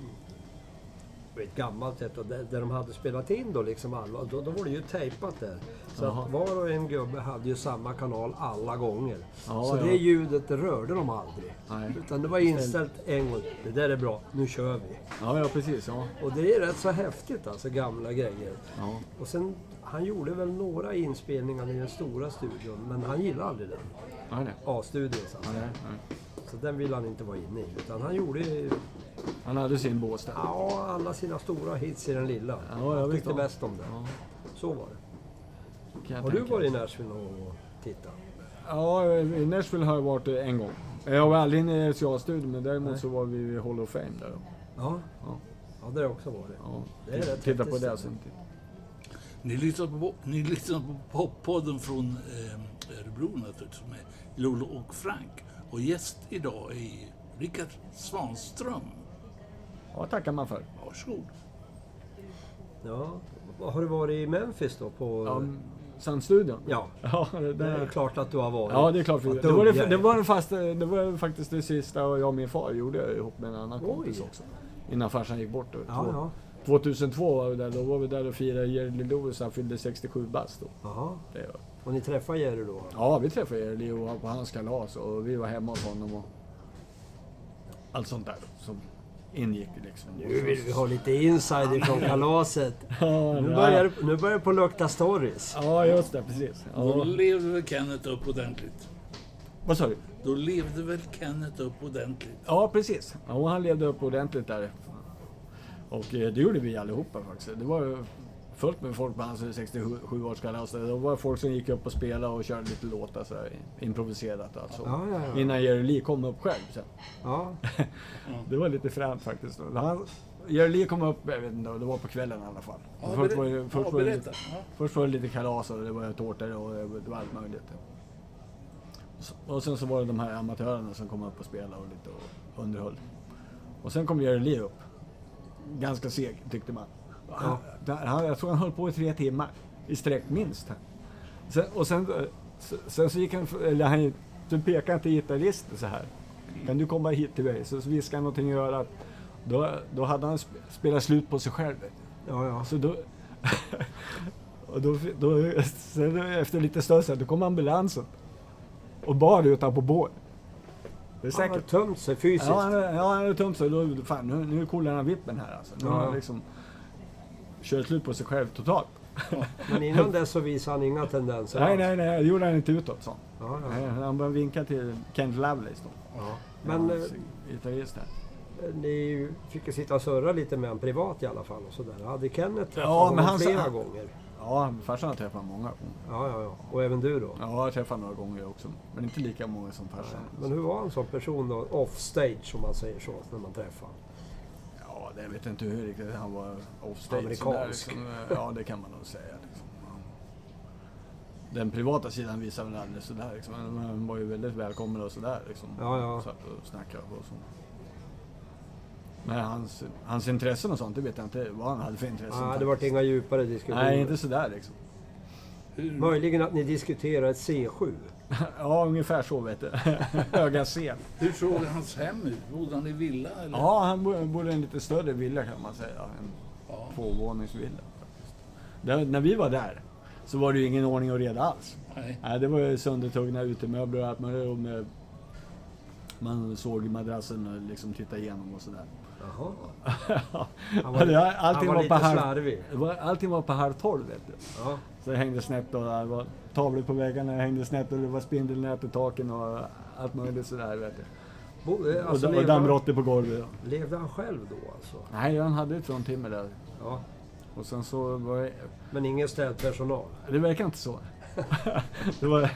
S2: det är ett gammalt ett, och där, där de hade spelat in då liksom alla, då, då var det ju tejpat där. Så
S3: Jaha.
S2: att var och en gubbe hade ju samma kanal alla gånger.
S3: Ja,
S2: så
S3: ja.
S2: det ljudet det rörde de aldrig.
S3: Nej.
S2: Utan det var inställt en gång, det där är bra, nu kör vi.
S3: Ja, ja precis. Ja.
S2: Och det är rätt så häftigt alltså, gamla grejer.
S3: Ja.
S2: Och sen, han gjorde väl några inspelningar i den stora studion, men han gillade aldrig den.
S3: Nej, nej.
S2: A-studion så att
S3: Ja,
S2: säga.
S3: nej, nej.
S2: Så den ville han inte vara inne i. Utan han gjorde
S3: Han hade sin bås där.
S2: ja, alla sina stora hits i den lilla.
S3: Ja, jag
S2: han
S3: vet
S2: tyckte
S3: om.
S2: bäst om den.
S3: Ja,
S2: Så var det.
S3: kan jag
S2: Har du
S3: tänka.
S2: varit i Nashville och tittat?
S3: Ja, i Nashville har jag varit en gång. Jag var aldrig inne i SCA-studion, men däremot så var vi vid Hall of Fame där. då.
S2: Ja.
S3: Ja.
S2: Ja, det har jag också varit.
S3: Ja.
S2: Det är rätt
S3: Titta på
S2: häftigt
S3: det. alltså.
S2: ställe.
S3: sen.
S1: Ni lyssnar på, ni lyssnar på poppodden från eh, Örebro naturligtvis med Lolo och Frank. Och gäst idag är Rickard Svanström.
S3: Ja, tackar man för.
S1: Varsågod.
S2: Ja. Har du varit i Memphis då? På...
S3: Ja, Ehm, Sandstudion?
S2: Ja.
S3: Ja, det,
S2: Det är
S3: där.
S2: klart att du har varit.
S3: ja, det är klart.
S2: Vad
S3: Det var, det,
S2: duggar
S3: det,
S2: jag
S3: var den fasta, det var faktiskt det sista jag och min far gjorde ihop med en annan
S2: Oj.
S3: kompis också. Innan farsan gick bort. Då,
S2: Ja,
S3: Två-
S2: ja.
S3: 2002 var vi där. Då var vi där och firade Jerry Lewis. Han fyllde 67 bast då.
S2: Jaha.
S3: Det var-
S2: Och ni träffade Jerry då?
S3: Ja, vi träffade Jerry och var på hans kalas och vi var hemma hos honom och allt sånt där som ingick liksom.
S2: Nu vill vi ha lite insider från kalaset.
S3: Ja,
S2: Nu
S3: ja.
S2: börjar, det- nu börjar det på lukta stories.
S3: Ja, just det. Precis.
S1: Då
S3: Ja.
S1: levde väl Kenneth upp ordentligt.
S3: Vad sa du?
S1: Då levde väl Kenneth upp ordentligt.
S3: Ja, precis. Ja, och han levde upp ordentligt där. Och eh, det gjorde vi allihopa faktiskt. Det var ju fullt med folk på hans 67-årskalas. Det var folk som gick upp och spelade och körde lite låtar så här, improviserat och allt sånt.
S2: Ja, ja, ja.
S3: Innan Jerry Lee kom upp själv sen.
S2: Ja,
S1: Mm.
S3: Det var lite fränt faktiskt. Han, Jerry Lee kom upp, jag vet inte, det var på kvällen i alla fall.
S1: Ja,
S3: först,
S1: berä-
S3: var det, först,
S1: ja,
S3: var det,
S1: berätta. Ja.
S3: först var det lite kalas och det var tårtor och det var allt möjligt. Så- Och sen så var det de här amatörerna som kom upp och spelade och lite och underhöll. Och sen kom Jerry Lee upp. Ganska seg tyckte man. Han, där, han, jag tror han höll på i tre timmar i sträck minst. Sen, och sen, så- sen så gick han, eller han så pekade han till gitarristen så här. Kan du komma hit till mig? Så, så viskade han någonting i örat. Då, då hade han sp- spelat slut på sig själv.
S2: ja, ja.
S3: Så då, och då, då, sen efter lite stund sen, då kom ambulansen och bar utanpå båren. Det är
S2: Han har
S3: säkert.
S2: tömt sig fysiskt.
S3: Ja, han, ja, han hade tömt sig. Då, fan, nu, nu kollar han vippen här alltså. Nu har han
S2: Ja.
S3: liksom kört slut på sig själv totalt.
S2: Men innan dess så visade han inga tendenser.
S3: Nej,
S2: alls.
S3: nej, nej, det gjorde han inte utåt så.
S2: Ja, ja.
S3: Nej, Han började vinka till Kent Lovelace då.
S2: Men
S3: Ja, gitarrist där.
S2: eh, ni fick ju sitta och surra lite med honom privat i alla fall. Och sådär. Hade Kenneth träffat
S3: Ja,
S2: honom
S3: men han sa-
S2: flera gånger?
S3: Ja, farsan har träffat många gånger.
S2: Ja, ja, ja. Och även du då?
S3: Ja, jag har träffat några gånger också. Men inte lika många som farsan.
S2: Men hur var han som person då? Offstage om man säger så, när man träffade honom.
S3: Ja, det jag vet inte hur riktigt han var offstage.
S2: Amerikansk.
S3: sådär liksom. Ja, det kan man nog säga. Liksom. Den privata sidan visar väl aldrig sådär. Liksom. Men Han var ju väldigt välkommen och sådär. Liksom.
S2: Ja, ja.
S3: Satt och snackade och så. Men hans, hans intressen och sånt, det vet jag inte vad han hade för intressen.
S2: Ja, Ah, det vart inga djupare diskussioner.
S3: Nej, inte sådär liksom.
S1: Hur,
S2: Möjligen att ni diskuterar ett C7.
S3: Ja, ungefär så vet du. Höga C.
S1: hur såg hans hem ut? Bodde han i villa eller?
S3: Ja, han bo- bodde i en lite större villa kan man säga. En
S1: Ja.
S3: tvåvåningsvilla. faktiskt. Där, när vi var där så var det ju ingen ordning och reda alls.
S1: Nej.
S3: Nej, det var ju söndertuggna utemöbler och allt möjligt. och med- Man såg madrassen och liksom tittade igenom och sådär.
S2: Jaha.
S3: Han
S2: var- han
S3: allting,
S2: var
S3: var
S2: lite
S3: på halv,
S2: slarvig.
S3: det var, allting var på halv tolv vet du.
S2: Ja.
S3: Så det hängde snett och det var tavlor på väggarna, det hängde snett och det var spindelnät i taken och allt möjligt sådär vet du.
S2: Bo, eh,
S3: och
S2: alltså,
S3: da- och
S2: levde, han,
S3: dammråttor på golvet.
S2: levde han själv då alltså?
S3: Nej, han hade ett sånt timmer där.
S2: Ja.
S3: Och sen så var det...
S2: Men ingen städpersonal?
S3: Det verkar inte så. det var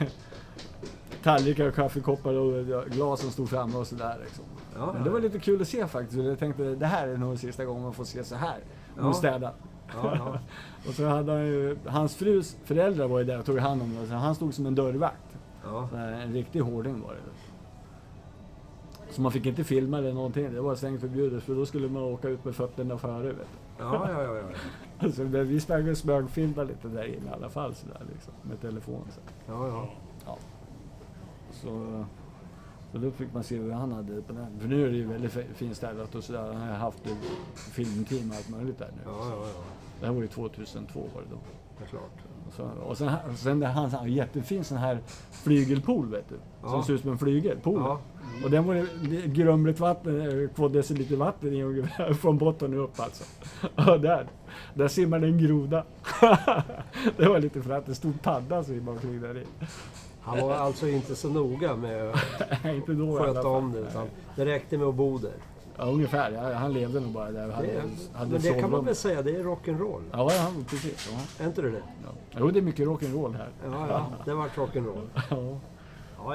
S3: tallrikar, och kaffekoppar och glas som stod framme och sådär. Liksom.
S2: Ja.
S3: Men det var lite kul att se faktiskt. Jag tänkte det här är nog sista gången man får se så här.
S2: Ja.
S3: Hon städar.
S2: Ja, ja.
S3: Och så hade han ju, hans frus föräldrar var ju där och tog hand om det. Så han stod som en dörrvakt.
S2: ja.
S3: Så här, En riktig hårding var det. Så man fick inte filma eller någonting. Det var strängt förbjudet för då skulle man åka ut med fötterna före. Vet du.
S2: Ja, ja, ja, ja.
S3: Alltså, men vi sprang och smögfilmade lite där inne i alla fall så där, liksom, med telefon. Så.
S2: ja, ja.
S3: Så, så då fick man se hur han hade det på den. För nu är det ju väldigt fi- finstädat och sådär. Han har haft ett filmteam och allt möjligt där nu.
S2: ja, ja, ja.
S3: Det här var ju 2002 var det då.
S2: Det är klart.
S3: Och, så, och sen, och sen det, han har en jättefin sån här flygelpool vet du.
S2: Ja.
S3: Som ser ut som en flygel. Pool.
S2: Ja.
S3: Och den var det det- grumligt vatten, eh, två deciliter vatten i ungefär från botten och upp alltså. Och där, där simmade en groda. det var lite för att det stod padda simmade omkring där i.
S2: Han var alltså inte så noga med att
S3: Nej, Inte då Oh, i alla
S2: sköta
S3: fall.
S2: om det utan det räckte med att bo där.
S3: Ja, ungefär. Ja, han levde nog bara där. och Hade,
S2: Det,
S3: hade
S2: men det kan man
S3: sovrum.
S2: väl säga, det är rock'n'roll.
S3: Ja, ja, precis. Ja.
S2: Är inte det det?
S3: Ja. Jo, det är mycket rock'n'roll här.
S2: Ja, ja. Det vart rock'n'roll.
S3: Ja.
S2: Ja,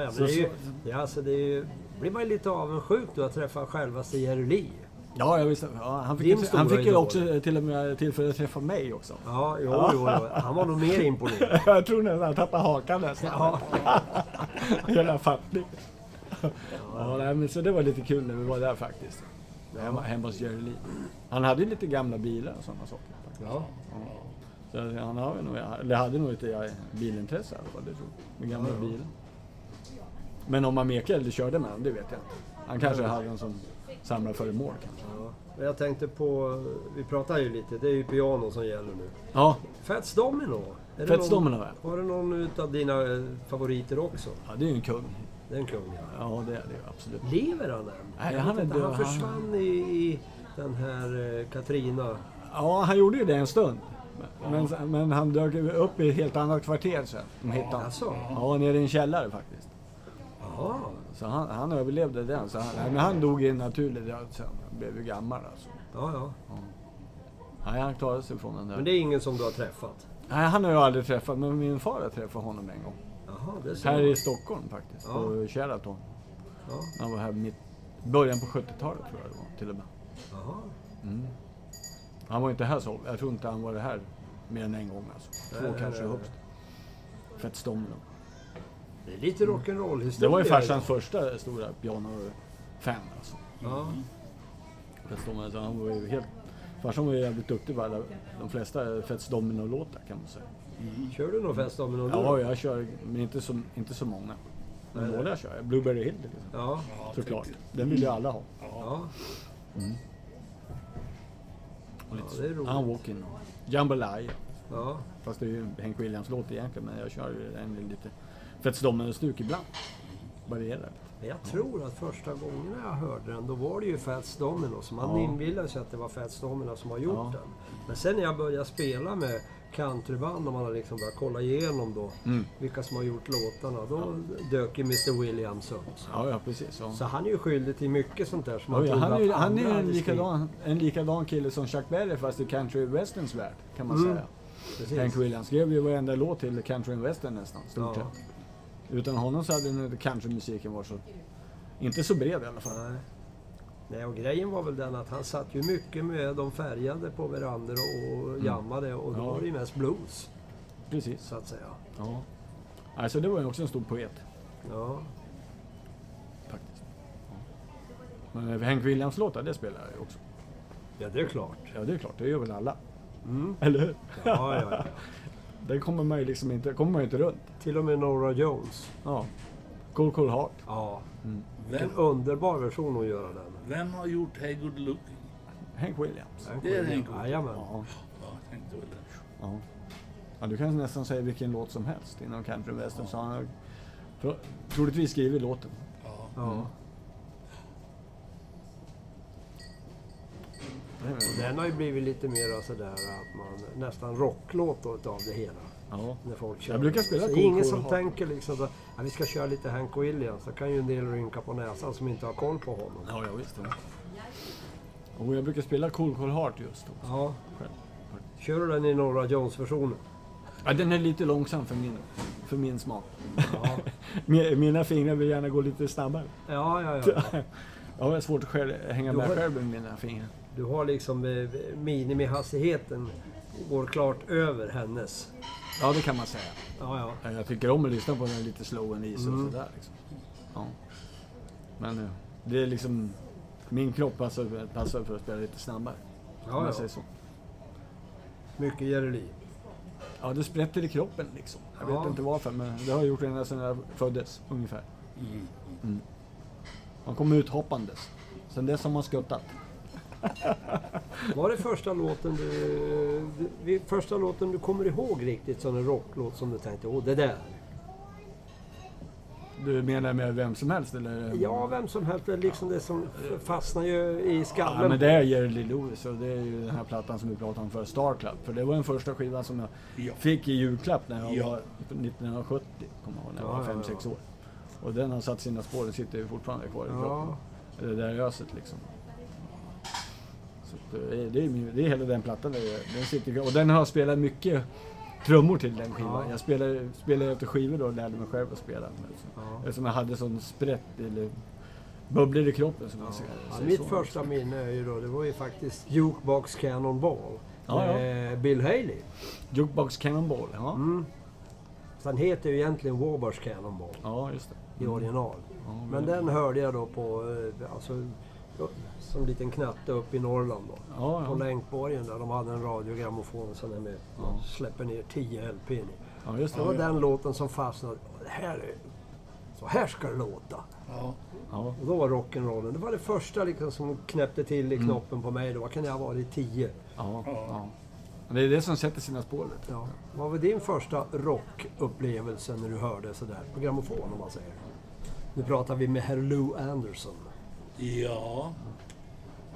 S2: ja, men
S3: Så-
S2: det, är ju,
S3: så-
S2: det, är alltså, det är ju, blir man ju lite avundsjuk då att träffa självaste Jerry Lee.
S3: Ja, jag visste. Ja, han
S2: Din
S3: fick, ju-
S2: stora
S3: han fick ju
S2: idol.
S3: också till och med tillfälle att träffa mig också.
S2: Ja, jo, jo, jo. Han var nog mer imponerad.
S3: Jag tror nästan han tappade hakan nästan.
S2: Ja,
S3: Hela fattning. Ja, nej, men så det var lite kul när vi var där faktiskt. Hemma, hemma hos Jerry Lee. Han hade ju lite gamla bilar och sådana saker. faktiskt.
S2: ja.
S3: Så han har ju nog, eller hade nog ett eh, bilintresse i alla fall, det tror jag. Med gamla bilen. Men om han mekade eller körde med den, det vet jag inte. Han kanske hade en som samlade föremål kanske.
S2: ja. Men Jag tänkte på, vi pratar ju lite, det är ju piano som gäller nu.
S3: Ja,
S2: Fats Domino. Är det
S3: Fats
S2: någon-
S3: Domino, ja.
S2: Har du någon av dina eh, favoriter också?
S3: ja det är ju en kung.
S2: Den kungen.
S3: Ja, det är det ju absolut.
S2: Lever han än?
S3: Nej,
S2: Jag
S3: han
S2: vet
S3: är
S2: inte,
S3: död.
S2: han
S3: Han-
S2: försvann i, i den här eh, Katrina.
S3: Ja, han gjorde ju det en stund. Men, men han dök ju upp i ett helt annat kvarter sen. De hittade han.
S2: Jaså?
S3: Ja, nere i en källare faktiskt.
S2: Jaha.
S3: Så han, han överlevde den. Så han, nej, men han dog i en naturlig död sen. Han blev ju gammal alltså.
S2: Ja, ja.
S3: Nej, han klarade sig från den
S2: Men
S3: där.
S2: det är ingen som du har träffat?
S3: Nej, han har jag aldrig träffat, men min far har träffat honom en gång.
S2: Jaha, det ser
S3: Här
S2: man.
S3: i Stockholm faktiskt,
S2: Ja.
S3: på Sheraton.
S2: Ja,
S3: Han var här mitt, början på 70-talet tror jag det var, till och med.
S2: jaha.
S3: Han var inte här så, jag tror inte han var här mer än en gång alltså. Två
S2: Nej, nej,
S3: kanske
S2: nej,
S3: högst. Fett stommen.
S2: Det är lite rock'n'roll
S3: Det
S2: historia.
S3: var ju farsans första stora piano-fan alltså.
S2: Ja,
S3: Fats Domino, så han var ju helt... Farsan var ju jävligt duktig på alla, de flesta Fats Domino-låtar kan man säga.
S2: kör du någon Fats Domino nu?
S3: Ja, jag kör, men inte så, inte så många. Men
S2: Nej.
S3: några kör jag. Blueberry Hill liksom.
S2: ja. typ.
S1: Ja,
S3: Såklart.
S1: tyckte-
S3: Den vill ju alla ha.
S2: Ja,
S3: Och lite
S2: det är roligt.
S3: så. Unwalking. Jambalaya.
S2: ja.
S3: Fast det är ju Hank Williams-låt egentligen, men jag kör ju den lite Fats Domino-stuk ibland. Varierar.
S2: Men jag tror att första gången jag hörde den, då var det ju Fats Domino. Så man
S3: Ja.
S2: inbillade sig att det var Fats Domino som har gjort
S3: Ja.
S2: den. Men sen när jag började spela med countryband och man har liksom börjat kolla igenom då
S3: Mm.
S2: vilka som har gjort låtarna, då dök ju Mr Williams upp.
S3: Ja, ja precis. Så.
S2: Så han är ju skyldig till mycket sånt där som man
S3: Ja, ja,
S2: trodde
S3: han är ju
S2: att
S3: han är ju
S2: andra
S3: en
S2: hade skrivit.
S3: likadan, en likadan kille som Chuck Berry fast i country westerns värld kan man
S2: Mm,
S3: säga.
S2: Precis.
S3: Hank Williams skrev ju varenda låt till country and western nästan,
S2: Ja.
S3: stort sett. Utan honom så hade nog countrymusiken varit så... Inte så bred i alla fall.
S2: Nej. Nej, och grejen var väl den att han satt ju mycket med de färgade på verander och och jammade och då
S3: Mm. Ja.
S2: var det ju mest blues,
S3: Precis.
S2: så att säga.
S3: Ja. Alltså det var ju också en stor poet
S2: Ja.
S3: faktiskt. Ja. Men eh, Hank Williams-låtar, det spelar jag ju också.
S2: Ja, det är klart.
S3: Ja, det är klart. Det gör väl alla. Eller hur?
S2: Ja, ja, ja.
S3: Det kommer man ju liksom inte, kommer man ju inte runt.
S2: Till och med Nora Jones.
S3: Ja. Cool Cool Heart.
S2: Ja,
S1: Vem,
S2: en underbar version hon gör av den.
S1: vem har gjort Hey Good Looking?
S3: Hank Williams.
S1: Det är en god.
S2: Jajamän.
S3: Ja.
S1: Ja, jag tänkte väl det.
S3: ja. ja du kan nästan säga vilken låt som helst inom country western. Så han har pro- troligtvis skrivit låten.
S1: Ja.
S2: Ja.
S3: Det är väl-
S2: Den har ju blivit lite mer sådär att man nästan rocklåt av det hela.
S3: Ja.
S2: När folk kör.
S3: Jag brukar spela
S2: Så det är
S3: Cool
S2: ingen
S3: Cool
S2: som
S3: Heart.
S2: tänker liksom så, att vi ska köra lite Hank Williams. Då kan ju en del rynka på näsan som inte har koll på honom.
S3: Ja, jag visste det. Och jag brukar spela Cool Cool Heart just då.
S2: Ja. Kör du den i Norra Jones-versionen?
S3: Ja, den är lite långsam för min, för min smak.
S2: Ja.
S3: Mi- Mina fingrar vill gärna gå lite snabbare.
S2: Ja, ja, ja.
S3: Jag har svårt att själv, hänga
S2: Du
S3: med
S2: har-
S3: själv med mina fingrar.
S2: Du har liksom eh, minimihastigheten går klart över hennes.
S3: Ja, det kan man säga.
S2: Ja, ja.
S3: Ja, Jag tycker om att lyssna på den lite slow and easy
S2: Mm.
S3: och sådär. Liksom. Ja. Men eh, det är liksom... Min kropp passar, passar för att spela lite snabbare. om
S2: ja,
S3: man
S2: ja.
S3: säger så.
S2: Mycket Jerry Lee.
S3: Ja, det sprätter i kroppen liksom. Jag
S2: Ja.
S3: vet inte varför, men det har jag gjort ända sedan jag föddes ungefär.
S1: Mm.
S3: Man kommer ut hoppandes. Sen dess har man skuttat.
S2: Var det första låten du, du- vi- första låten du kommer ihåg riktigt som en rocklåt som du tänkte, åh det där.
S3: Du menar med vem som helst eller?
S2: Ja, vem som helst, det är liksom det som fastnar ju i skallen.
S3: Ja, men det är Jerry Lee Lewis och det är ju den här plattan som vi pratade om för Star Club. För det var den första skivan som jag
S1: Ja.
S3: fick i julklapp när jag
S1: Ja.
S3: var 1970, kommer jag ihåg, när jag
S2: Ja,
S3: var
S2: ja,
S3: 5-6
S2: ja.
S3: år. Och den har satt sina spår, den sitter ju fortfarande kvar i kroppen.
S2: Ja.
S3: Det där öset liksom. Så att eh, det, är, det, är, min- det är hela den plattan, där, den sitter kvar. Och den har jag spelat mycket trummor till den skivan.
S2: Ja.
S3: Jag spelade, spelade efter skivor då och lärde mig själv att spela.
S2: Ja.
S3: Eftersom jag hade sån sprätt, eller bubblor i kroppen som man
S2: Ja,
S3: säger.
S2: ja,
S3: säger
S2: mitt
S3: så.
S2: första minne är ju då, det var ju faktiskt Jukebox Cannonball.
S3: Ja, ja.
S2: med Bill Haley.
S3: Jukebox Cannonball, ja.
S2: Mm. Så Den heter ju egentligen Warbars Cannonball
S3: Ja, just det.
S2: i original.
S3: Ja, men-
S2: Men den hörde jag då på, eh, alltså, som liten knatte upp i Norrland då.
S3: Ja,
S2: på
S3: ja.
S2: Länkborgen där de hade en radiogrammofon som är med. Man släpper ner 10 LP i.
S3: ja just
S2: Det var
S3: det.
S2: den låten som fastnade. Det Här är, så här ska det låta.
S1: Ja.
S3: Ja,
S2: Och då var rock'n'rollen. Det var det första liksom som knäppte till i knoppen på mig. Då Vad kan jag ha varit 10?
S3: ja, ja. Det är det som sätter sina spår. vet du.
S2: Ja. Vad var din första rockupplevelse när du hörde sådär på grammofon om man säger? Nu pratar vi med herr Lou Anderson.
S1: Ja.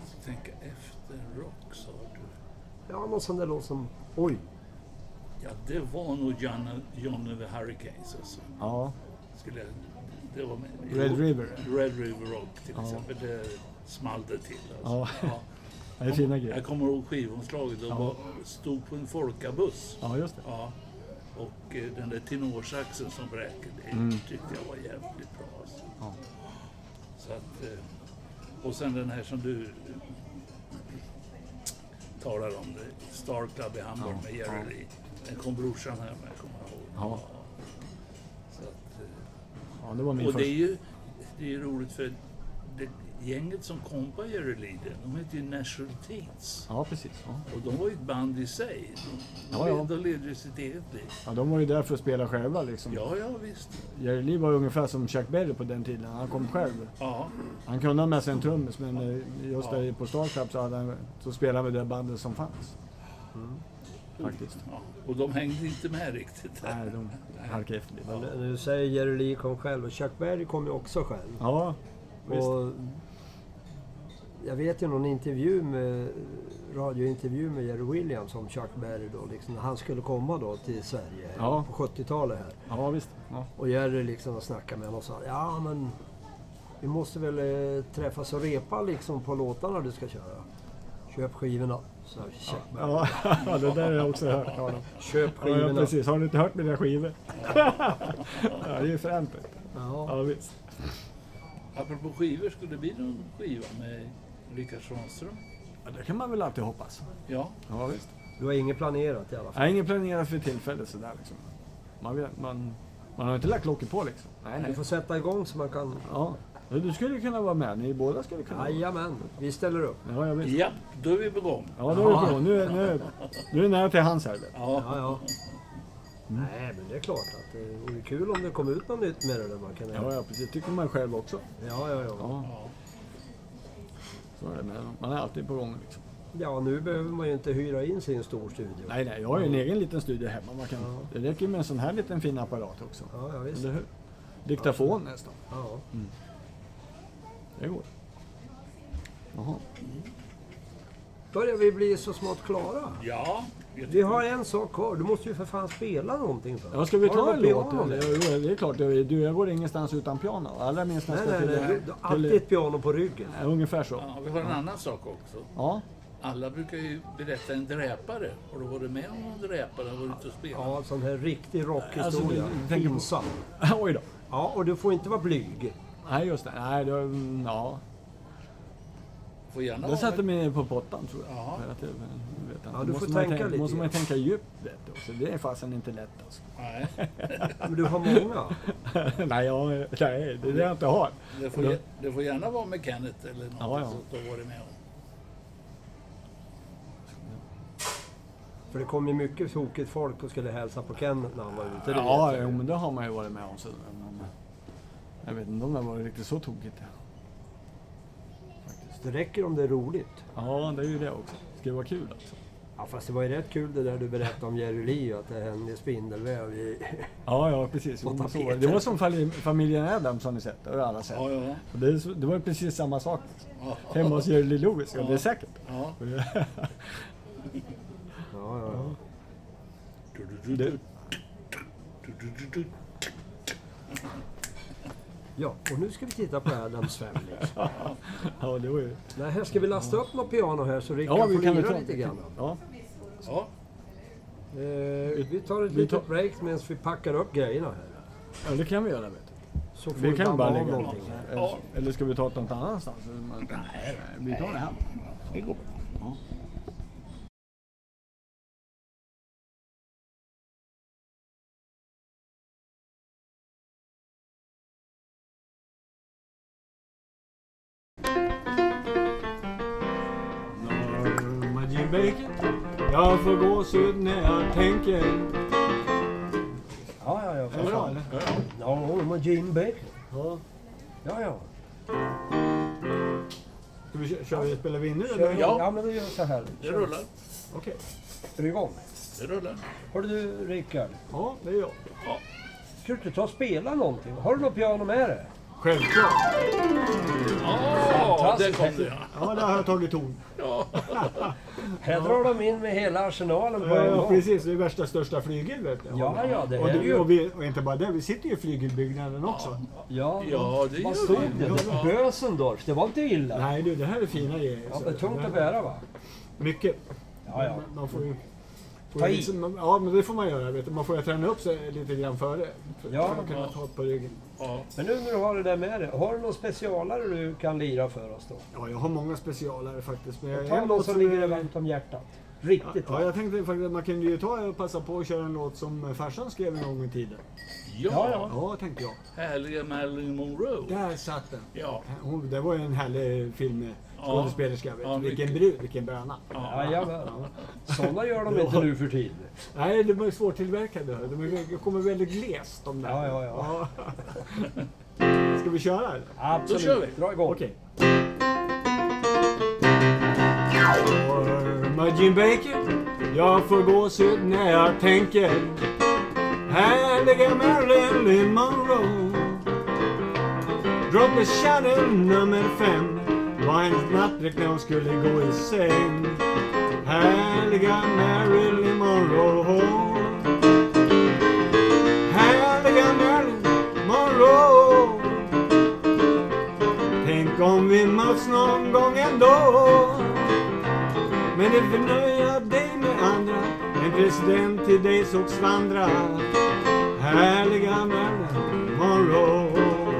S1: Så tänka efter rock sa du.
S2: Ja, någon sån där låt som... Oj!
S1: Ja, det var nog Johnny, Johnny the Hurricanes alltså.
S3: Ja,
S1: Skulle jag, det var med.
S3: Red River.
S1: Red River Rock till exempel. Det small det till
S3: Ja.
S1: alltså. Ja.
S3: Det är fina grejer.
S1: Jag kommer ihåg skivomslaget. De var, stod på en folkabuss.
S3: Ja, just det.
S1: Ja. Och eh, den där tenorsaxen som bräker, det tyckte jag var jävligt bra. Alltså.
S3: Mm. Ja.
S1: Så att, eh, och sen den här som du eh, talar om, det, Star Club i Hamburg med Jerry Lee. Den kom brorsan hem med, kommer jag ihåg.
S3: Ja.
S1: Så att, eh,
S3: Ja, det var min
S1: och
S3: första.
S1: det är ju det är ju roligt för det gänget som kom på Jerry Lee, det- de hette ju National Teens.
S3: Ja, precis. Ja.
S1: Och de var ju ett band i sig. De,
S3: Ja, ja.
S1: de levde ju sitt eget liv.
S3: ja, de var ju där för att spela själva liksom.
S1: Ja, ja visst.
S3: Jerry Lee var ju ungefär som Chuck Berry på den tiden. Han kom själv.
S1: Ja,
S3: Han kunde ha med sig en trummis, men eh, just där på Star Club så, hade han, så spelade han med det bandet som fanns. Mm. Faktiskt.
S1: ja. Och de hängde inte med riktigt.
S3: Nej, de halkade efter lite.
S2: Men nu säger Jerry Lee kom själv och Chuck Berry kom ju också själv.
S3: Ja, visst.
S2: Och jag vet ju någon intervju med, radiointervju med Jerry Williams om Chuck Berry då, liksom, när han skulle komma då till Sverige
S3: Ja.
S2: på 70-talet här.
S3: Ja, visst. Ja.
S2: Och Jerry liksom snackade med honom och sa ja men vi måste väl eh, träffas och repa liksom på låtarna du ska köra. Köp skivorna, sa Chuck Berry.
S3: Ja, det där har jag också hört talas om.
S2: Köp
S3: Ja, ja,
S2: skivorna.
S3: precis. Har ni inte hört mina skivor? ja, det är ju fränt. vet du.
S2: Ja.
S3: Ja, visst.
S1: Apropå skivor, skulle det bli någon skiva med Rickard Svanström?
S3: Ja, det kan man väl alltid hoppas.
S1: Ja,
S3: Ja, visst.
S2: Du har inget planerat i alla fall.
S3: Jag har inget planerat för tillfället sådär liksom. Man, vet, man, man har inte lagt locket på liksom. Nej,
S2: Du
S3: nej.
S2: får sätta igång så man kan
S3: Ja, Du skulle kunna vara med. Ni båda skulle kunna vara med.
S2: Jajamän, vi ställer upp.
S3: Ja, jag visst.
S1: Ja, då är vi på gång.
S3: Ja, då är det på. Nu, är- nu, är- nu är det nära till hans här.
S2: Ja, ja.
S3: Mm.
S2: Nej, men det är klart att det vore kul om det kom ut något nytt med det där. Man kan...
S3: Ja, ja, precis. tycker man själv också.
S2: Ja, ja, ja.
S3: Ja,
S1: Ja.
S3: så är det. Men man är alltid på gång. Liksom.
S2: Ja, nu behöver man ju inte hyra in sin stor studio.
S3: Nej, nej. Jag har ju en egen liten studio hemma. Man kan, det räcker ju med en sån här liten fin apparat också.
S2: Ja, ja visst.
S3: Eller hur? Diktafon nästan.
S2: Ja.
S3: Det går. Jaha.
S2: Börjar vi bli så smått klara?
S1: Ja,
S2: Vi har en sak kvar. Du måste ju för fan spela någonting. För.
S3: Ja, ska vi
S2: Har du
S3: ta en
S2: något
S3: låt?
S2: piano?
S3: eller? Jo, det är klart. det är- Du, jag går ingenstans utan piano. Allra minst när jag
S2: Nej,
S3: ska
S2: nej,
S3: till...
S2: nej. Du
S3: till-
S2: har alltid ett piano på ryggen.
S3: Ja, Ungefär så.
S1: ja, vi har en annan sak också.
S3: Ja.
S1: Alla brukar ju berätta en dräpare. Har du varit med om någon dräpare? Har du varit ute och spelat?
S2: Ja, sån här riktig
S3: Alltså,
S2: rockhistoria.
S3: du- du tänker på-
S2: Pinsam.
S3: Oj då.
S2: Ja, och du får inte vara blyg.
S3: Nej, just det. Nej, det, mm, ja.
S1: Får gärna
S3: det
S1: vara
S3: satte
S1: med.
S3: mig på pottan tror jag.
S1: Ja.
S3: För att det- vet jag inte.
S2: du
S3: Måste
S2: får
S3: man
S2: tänka lite
S3: Måste man
S2: grann.
S3: tänka djupt vet du. Så det är fasen inte lätt alltså.
S1: Nej,
S2: Men du har många.
S3: nej, jag, nej, det är det jag inte har.
S1: det får, ge- det får gärna vara med Kenneth eller något
S3: Ja, ja.
S1: sånt du har varit med om.
S2: För det kom ju mycket tokigt folk och skulle hälsa på Ken när han var ute. det
S3: Ja,
S2: vet jag
S3: jo,
S2: ju.
S3: men det har man ju varit med om. Så, men, jag vet inte om det var riktigt så tokigt.
S2: Det räcker om det är roligt.
S3: Ja, det är ju det också. Det ska ju vara kul också.
S2: Ja, fast det var ju rätt kul det där du berättade om Jerry Lee och att det hände spindelväv i...
S3: Ja, ja precis. Jo,
S2: Och
S3: men så var det.
S2: tapeter.
S3: det var som fali- familjen Addams har ni sett. Det har alla sett.
S1: Ja, ja.
S3: Och det, är så- det var ju precis samma sak.
S1: Ja.
S3: Hemma hos Jerry Lee Lewis. Ja, det är säkert.
S1: Ja.
S2: Ja, ja, ja.
S3: Det-
S2: ja och nu ska vi titta på Adams Family.
S3: Ja, det var ju...
S2: Nej, här ska vi lasta upp något piano här så Rickard
S3: Ja,
S2: får
S3: vi kan väl
S2: lira
S3: ta Eh,
S2: lite grann.
S3: Ja,
S1: Ja.
S2: Eh, vi tar ett
S3: Vi
S2: litet
S3: tar-
S2: break medan vi packar upp grejerna här.
S3: ja, det kan vi göra. Vet du.
S2: Så får
S3: Vi kan
S2: damma
S3: bara
S2: av
S3: lägga
S2: någonting.
S3: någonting. Eller, eller ska vi ta det någon annanstans? Man- Nej, vi tar det här.
S1: Det går bra.
S3: Norma Jean Baker, jag får gåshud när jag tänker.
S2: Ja, ja, ja.
S3: Är det
S2: för
S3: bra
S2: fan.
S3: eller?
S2: Ja, hon var Gene Baker.
S3: Ja.
S2: Ja, ja.
S3: Ska vi, kö- kör vi, spelar vi in nu
S2: Kör,
S3: eller?
S2: ja. ja, men då gör vi så här.
S1: Det rullar.
S3: Okej.
S2: Är du igång?
S1: Det rullar.
S2: Hörru du, Rickard.
S3: Ja, det är jag.
S2: Ska du inte ta och spela någonting? Har du något piano med dig?
S3: Självklart.
S1: Ja, där kom det ja.
S3: Ja, där har jag tagit ton.
S1: ja.
S2: Här drar de in med hela arsenalen på en
S3: Ja,
S2: gång.
S3: Eh, precis. Det är värsta största flygel vet du.
S2: Ja, ja, det
S3: och,
S2: är
S3: du,
S2: ju...
S3: och, vi, och inte bara det, vi sitter ju i flygelbyggnaden också.
S2: Ja,
S1: Ja, det
S2: vad
S1: gör
S2: stod det?
S1: vi.
S2: det var
S1: Ja.
S2: Bösendorf. Det var inte illa.
S3: Nej du, det här är fina grejer.
S2: Ja,
S3: så
S2: det är
S3: det-
S2: tungt
S3: det-
S2: att bära va?
S3: Mycket.
S2: Ja, ja.
S3: Man får ju... Får
S2: Ta
S3: ju
S2: i.
S3: liksom, ja, men det får man göra. Vet du. Man får ju träna upp sig lite grann före. För,
S2: Ja.
S3: för att kunna ta på ryggen.
S1: ja.
S2: Men nu när du har det där med dig, har du någon specialare du kan lira för oss då?
S3: Ja, jag har många specialare faktiskt. Men jag,
S2: Ta
S3: en
S2: någon
S3: låt
S2: som ligger dig varmt om hjärtat. Riktigt
S3: Ja,
S2: va?
S3: jag tänkte faktiskt att man kunde ju ta och passa på att köra en låt som farsan skrev en gång i tiden.
S2: Ja, ja.
S1: ja.
S3: Ja, tänkte jag.
S1: Härliga Marilyn Monroe.
S3: Där satt den.
S1: Ja.
S3: Hon, det var ju en härlig filmskådespelerska. vet
S1: Ja,
S3: du. vilken
S1: mycket.
S3: brud, vilken bröna.
S2: Jajamän. Sådana gör de inte nu för tiden.
S3: Nej, de är svårtillverkade. De är- de kommer väldigt glest de där.
S2: Ja, ja, ja.
S3: Ja. Ska vi köra? eller?
S2: Absolut.
S1: Då kör vi.
S2: Dra igång.
S3: Okej. Orma Jim Baker, jag får gåshud när jag tänker. Härliga Marilyn Monroe. Drottning Shannon nummer fem var hennes nattdräkt när hon skulle gå i säng. Härliga Marilyn Monroe. Härliga Marilyn Monroe. Tänk om vi möts någon gång ändå Men det förnöja dig med andra En president till dig såg svandra Härliga Marilyn Monroe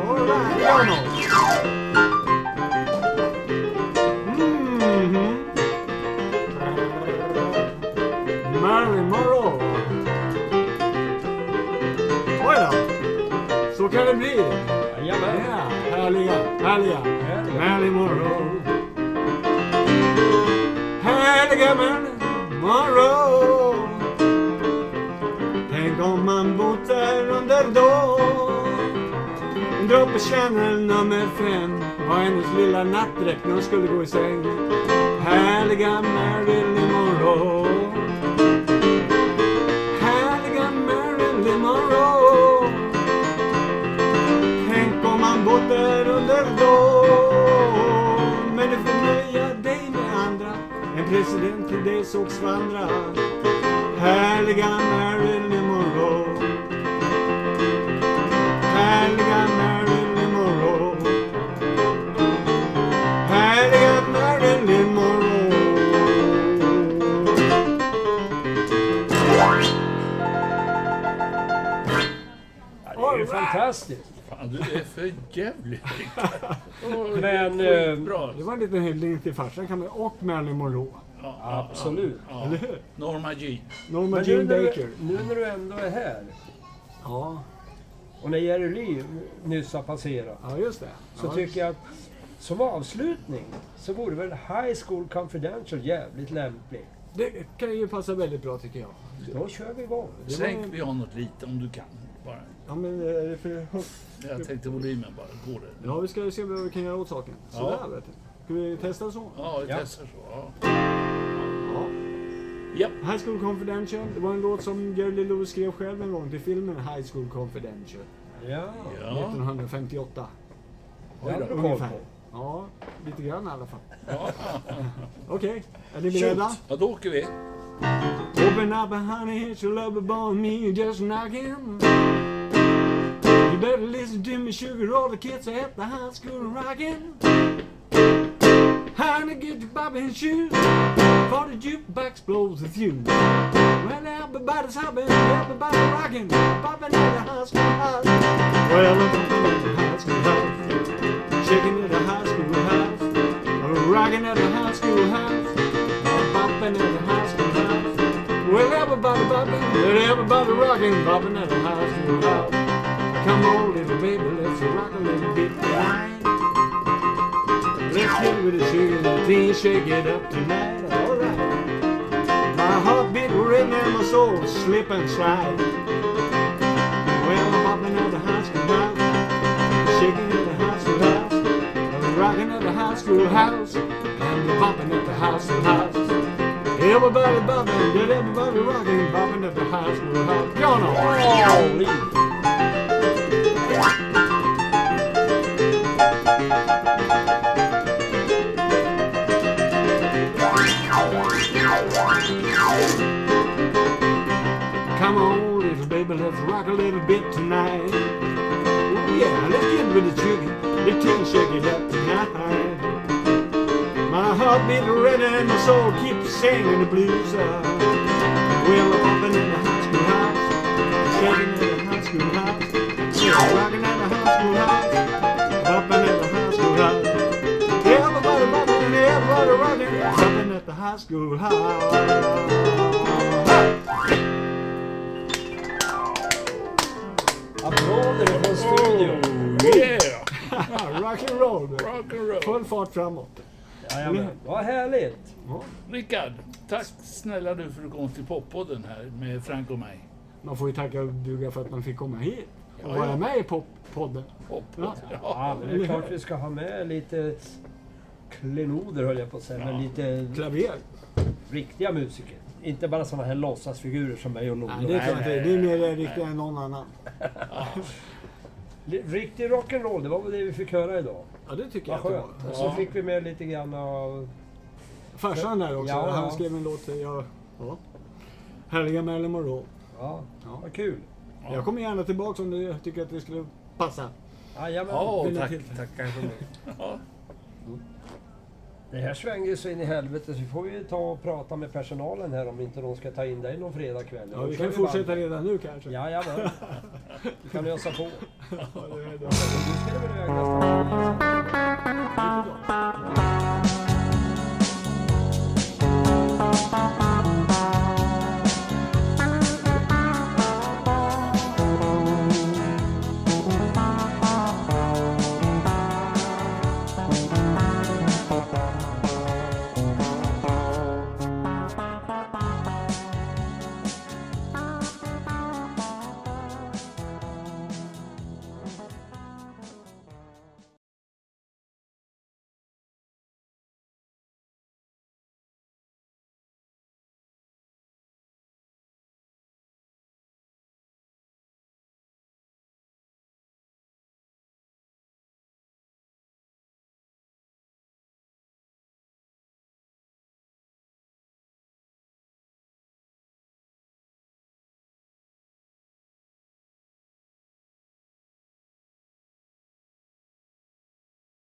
S3: All right, piano. Mhm. Marilyn Monroe Oj då, så kan det bli.
S2: David! Jajamän!
S3: Härliga, härliga,
S2: Härliga.
S3: härlig morgon. Härliga men- morgon. Tänk om man bott där under dagen. En droppe Chanel nummer fem var hennes lilla nattdräkt när hon skulle gå i säng. Härliga Marilyn Monroe. Härliga Marilyn Monroe. Tänk om man bott där under dagen Men du får nöja dig med andra En president till dig såg vandra Härliga Marilyn Monroe Härliga Marilyn Monroe Härliga Marilyn Monroe
S2: Det är ju fantastiskt!
S1: Fan, du är för jävlig Rickard. Åh,
S2: Men,
S1: det är skitbra.
S2: eh,
S1: Ja,
S3: Det var en liten hyllning till farsan kan man och Marilyn Monroe.
S1: ja,
S2: eh, Absolut!
S1: ja. Norma Jean.
S3: Norma
S2: Men nu
S3: Jean
S2: när,
S3: Baker.
S2: du, nu när du ändå är här
S3: Ja,
S2: och när Jerry Lee nyss har passerat
S3: ja just det.
S2: så
S3: ja.
S2: tycker jag att som avslutning så vore väl High School Confidential jävligt lämplig.
S3: Det kan ju passa väldigt bra tycker jag.
S2: Då kör vi igång.
S1: Sänk pianot lite om du kan. Bara.
S3: Ja, men är det för
S1: Jag tänkte volymen bara. Går det?
S3: Ja, vi ska se vad vi kan göra åt saken. Sådär,
S1: Ja.
S3: vet du. Ska vi testa så?
S1: Ja, vi
S2: Ja.
S1: testar så.
S3: Ja.
S1: Ja.
S3: High School Confidential. Det var en låt som Jerry Lee Lewis skrev själv en gång till filmen High School Confidential.
S2: Ja,
S1: Ja.
S3: 1958.
S2: det hade du koll
S3: Ungefär.
S2: på.
S3: Ja, lite grann i alla fall.
S1: Ja.
S3: Okej, är ni beredda?
S1: ja, då åker vi.
S3: Open up, honey, it's your love upon me, just knocking. You better listen to me, sugar, all the kids are at the high school rocking. Honey, get your bobbin shoes, for the jukebox blows the fuse. Well, everybody's hopping, everybody's rocking, popping at the high school house. Well, I'm popping at the high school house, shaking at the high school house, rocking at the high school house, popping at the high school house. Well, everybody bopping, and everybody rocking, bopping at the high school house. Come on, little baby, let's rock a little bit tonight. Let's get with the sugar and the tea, shake it up tonight. All right. My heartbeat rhythm and my soul slip and slide. Well, I'm bopping at the high school house, shaking at the high school house, I'm rocking at the high school house, and bopping at the high school house. Everybody bopping, get everybody rocking, bopping at the high school house. Y'all know. Come on, little baby, let's rock a little bit tonight. Oh yeah, let's get with the sugar, the tea, shake it up tonight. My heart beat red and my soul keeps singing the blues. uh. Well, I'm bumping in the high school house, shaking in the high school house, yeah, rocking at the high school house, bumping at the high school house. Everybody bumping, everybody rocking, bumping at the high school house.
S2: Applåder från studion.
S1: Oh, yeah!
S3: Ja, rock and roll. Ah, du.
S1: Rock'n'roll.
S3: Full fart framåt.
S2: Jajamän. Vad härligt.
S1: Rickard, tack snälla du för att du kom till poppodden här med Frank och mig.
S3: Man får ju tacka och buga för att man fick komma hit och
S1: Ja, ja.
S3: vara med i poppodden.
S1: Poppodden.
S2: Ja,
S1: Ja.
S2: men det är klart vi ska ha med lite klenoder höll jag på att säga, men
S1: Ja.
S2: lite
S3: Klaver?
S2: riktiga musiker. Inte bara såna här låtsasfigurer som mig och Lollo.
S3: Nej, det är klart
S1: nej,
S3: det. Det är
S1: nej,
S3: mer
S1: nej.
S3: riktigt än någon annan.
S2: Li- Riktig rock'n'roll, det var väl det vi fick höra idag.
S3: Ja, det tycker
S2: Vad
S3: jag att
S2: skönt.
S3: det var.
S2: Och så
S1: Ja.
S2: fick vi med lite grann av...
S3: Farsan där också.
S2: Ja, ja.
S3: Han skrev en låt. till- Ja. ja. Härliga Marilyn Monroe.
S2: Ja,
S3: Ja.
S2: vad kul.
S3: Jag kommer gärna tillbaka om du tycker att det skulle passa.
S2: Jajamän.
S1: Ja,
S3: Vill ni
S1: tack.
S3: till-
S1: Tackar för mig. Ja.
S2: Det här svänger ju så in i helvete så vi får ju ta och prata med personalen här om inte de ska ta in dig någon fredagkväll.
S3: Ja,
S2: Då
S3: vi
S2: kör
S3: kan fortsätta
S2: band.
S3: redan nu kanske.
S2: Jajamän. Du kan ösa på.
S3: Ja, det är
S2: Du
S3: bra.
S2: ska väl öka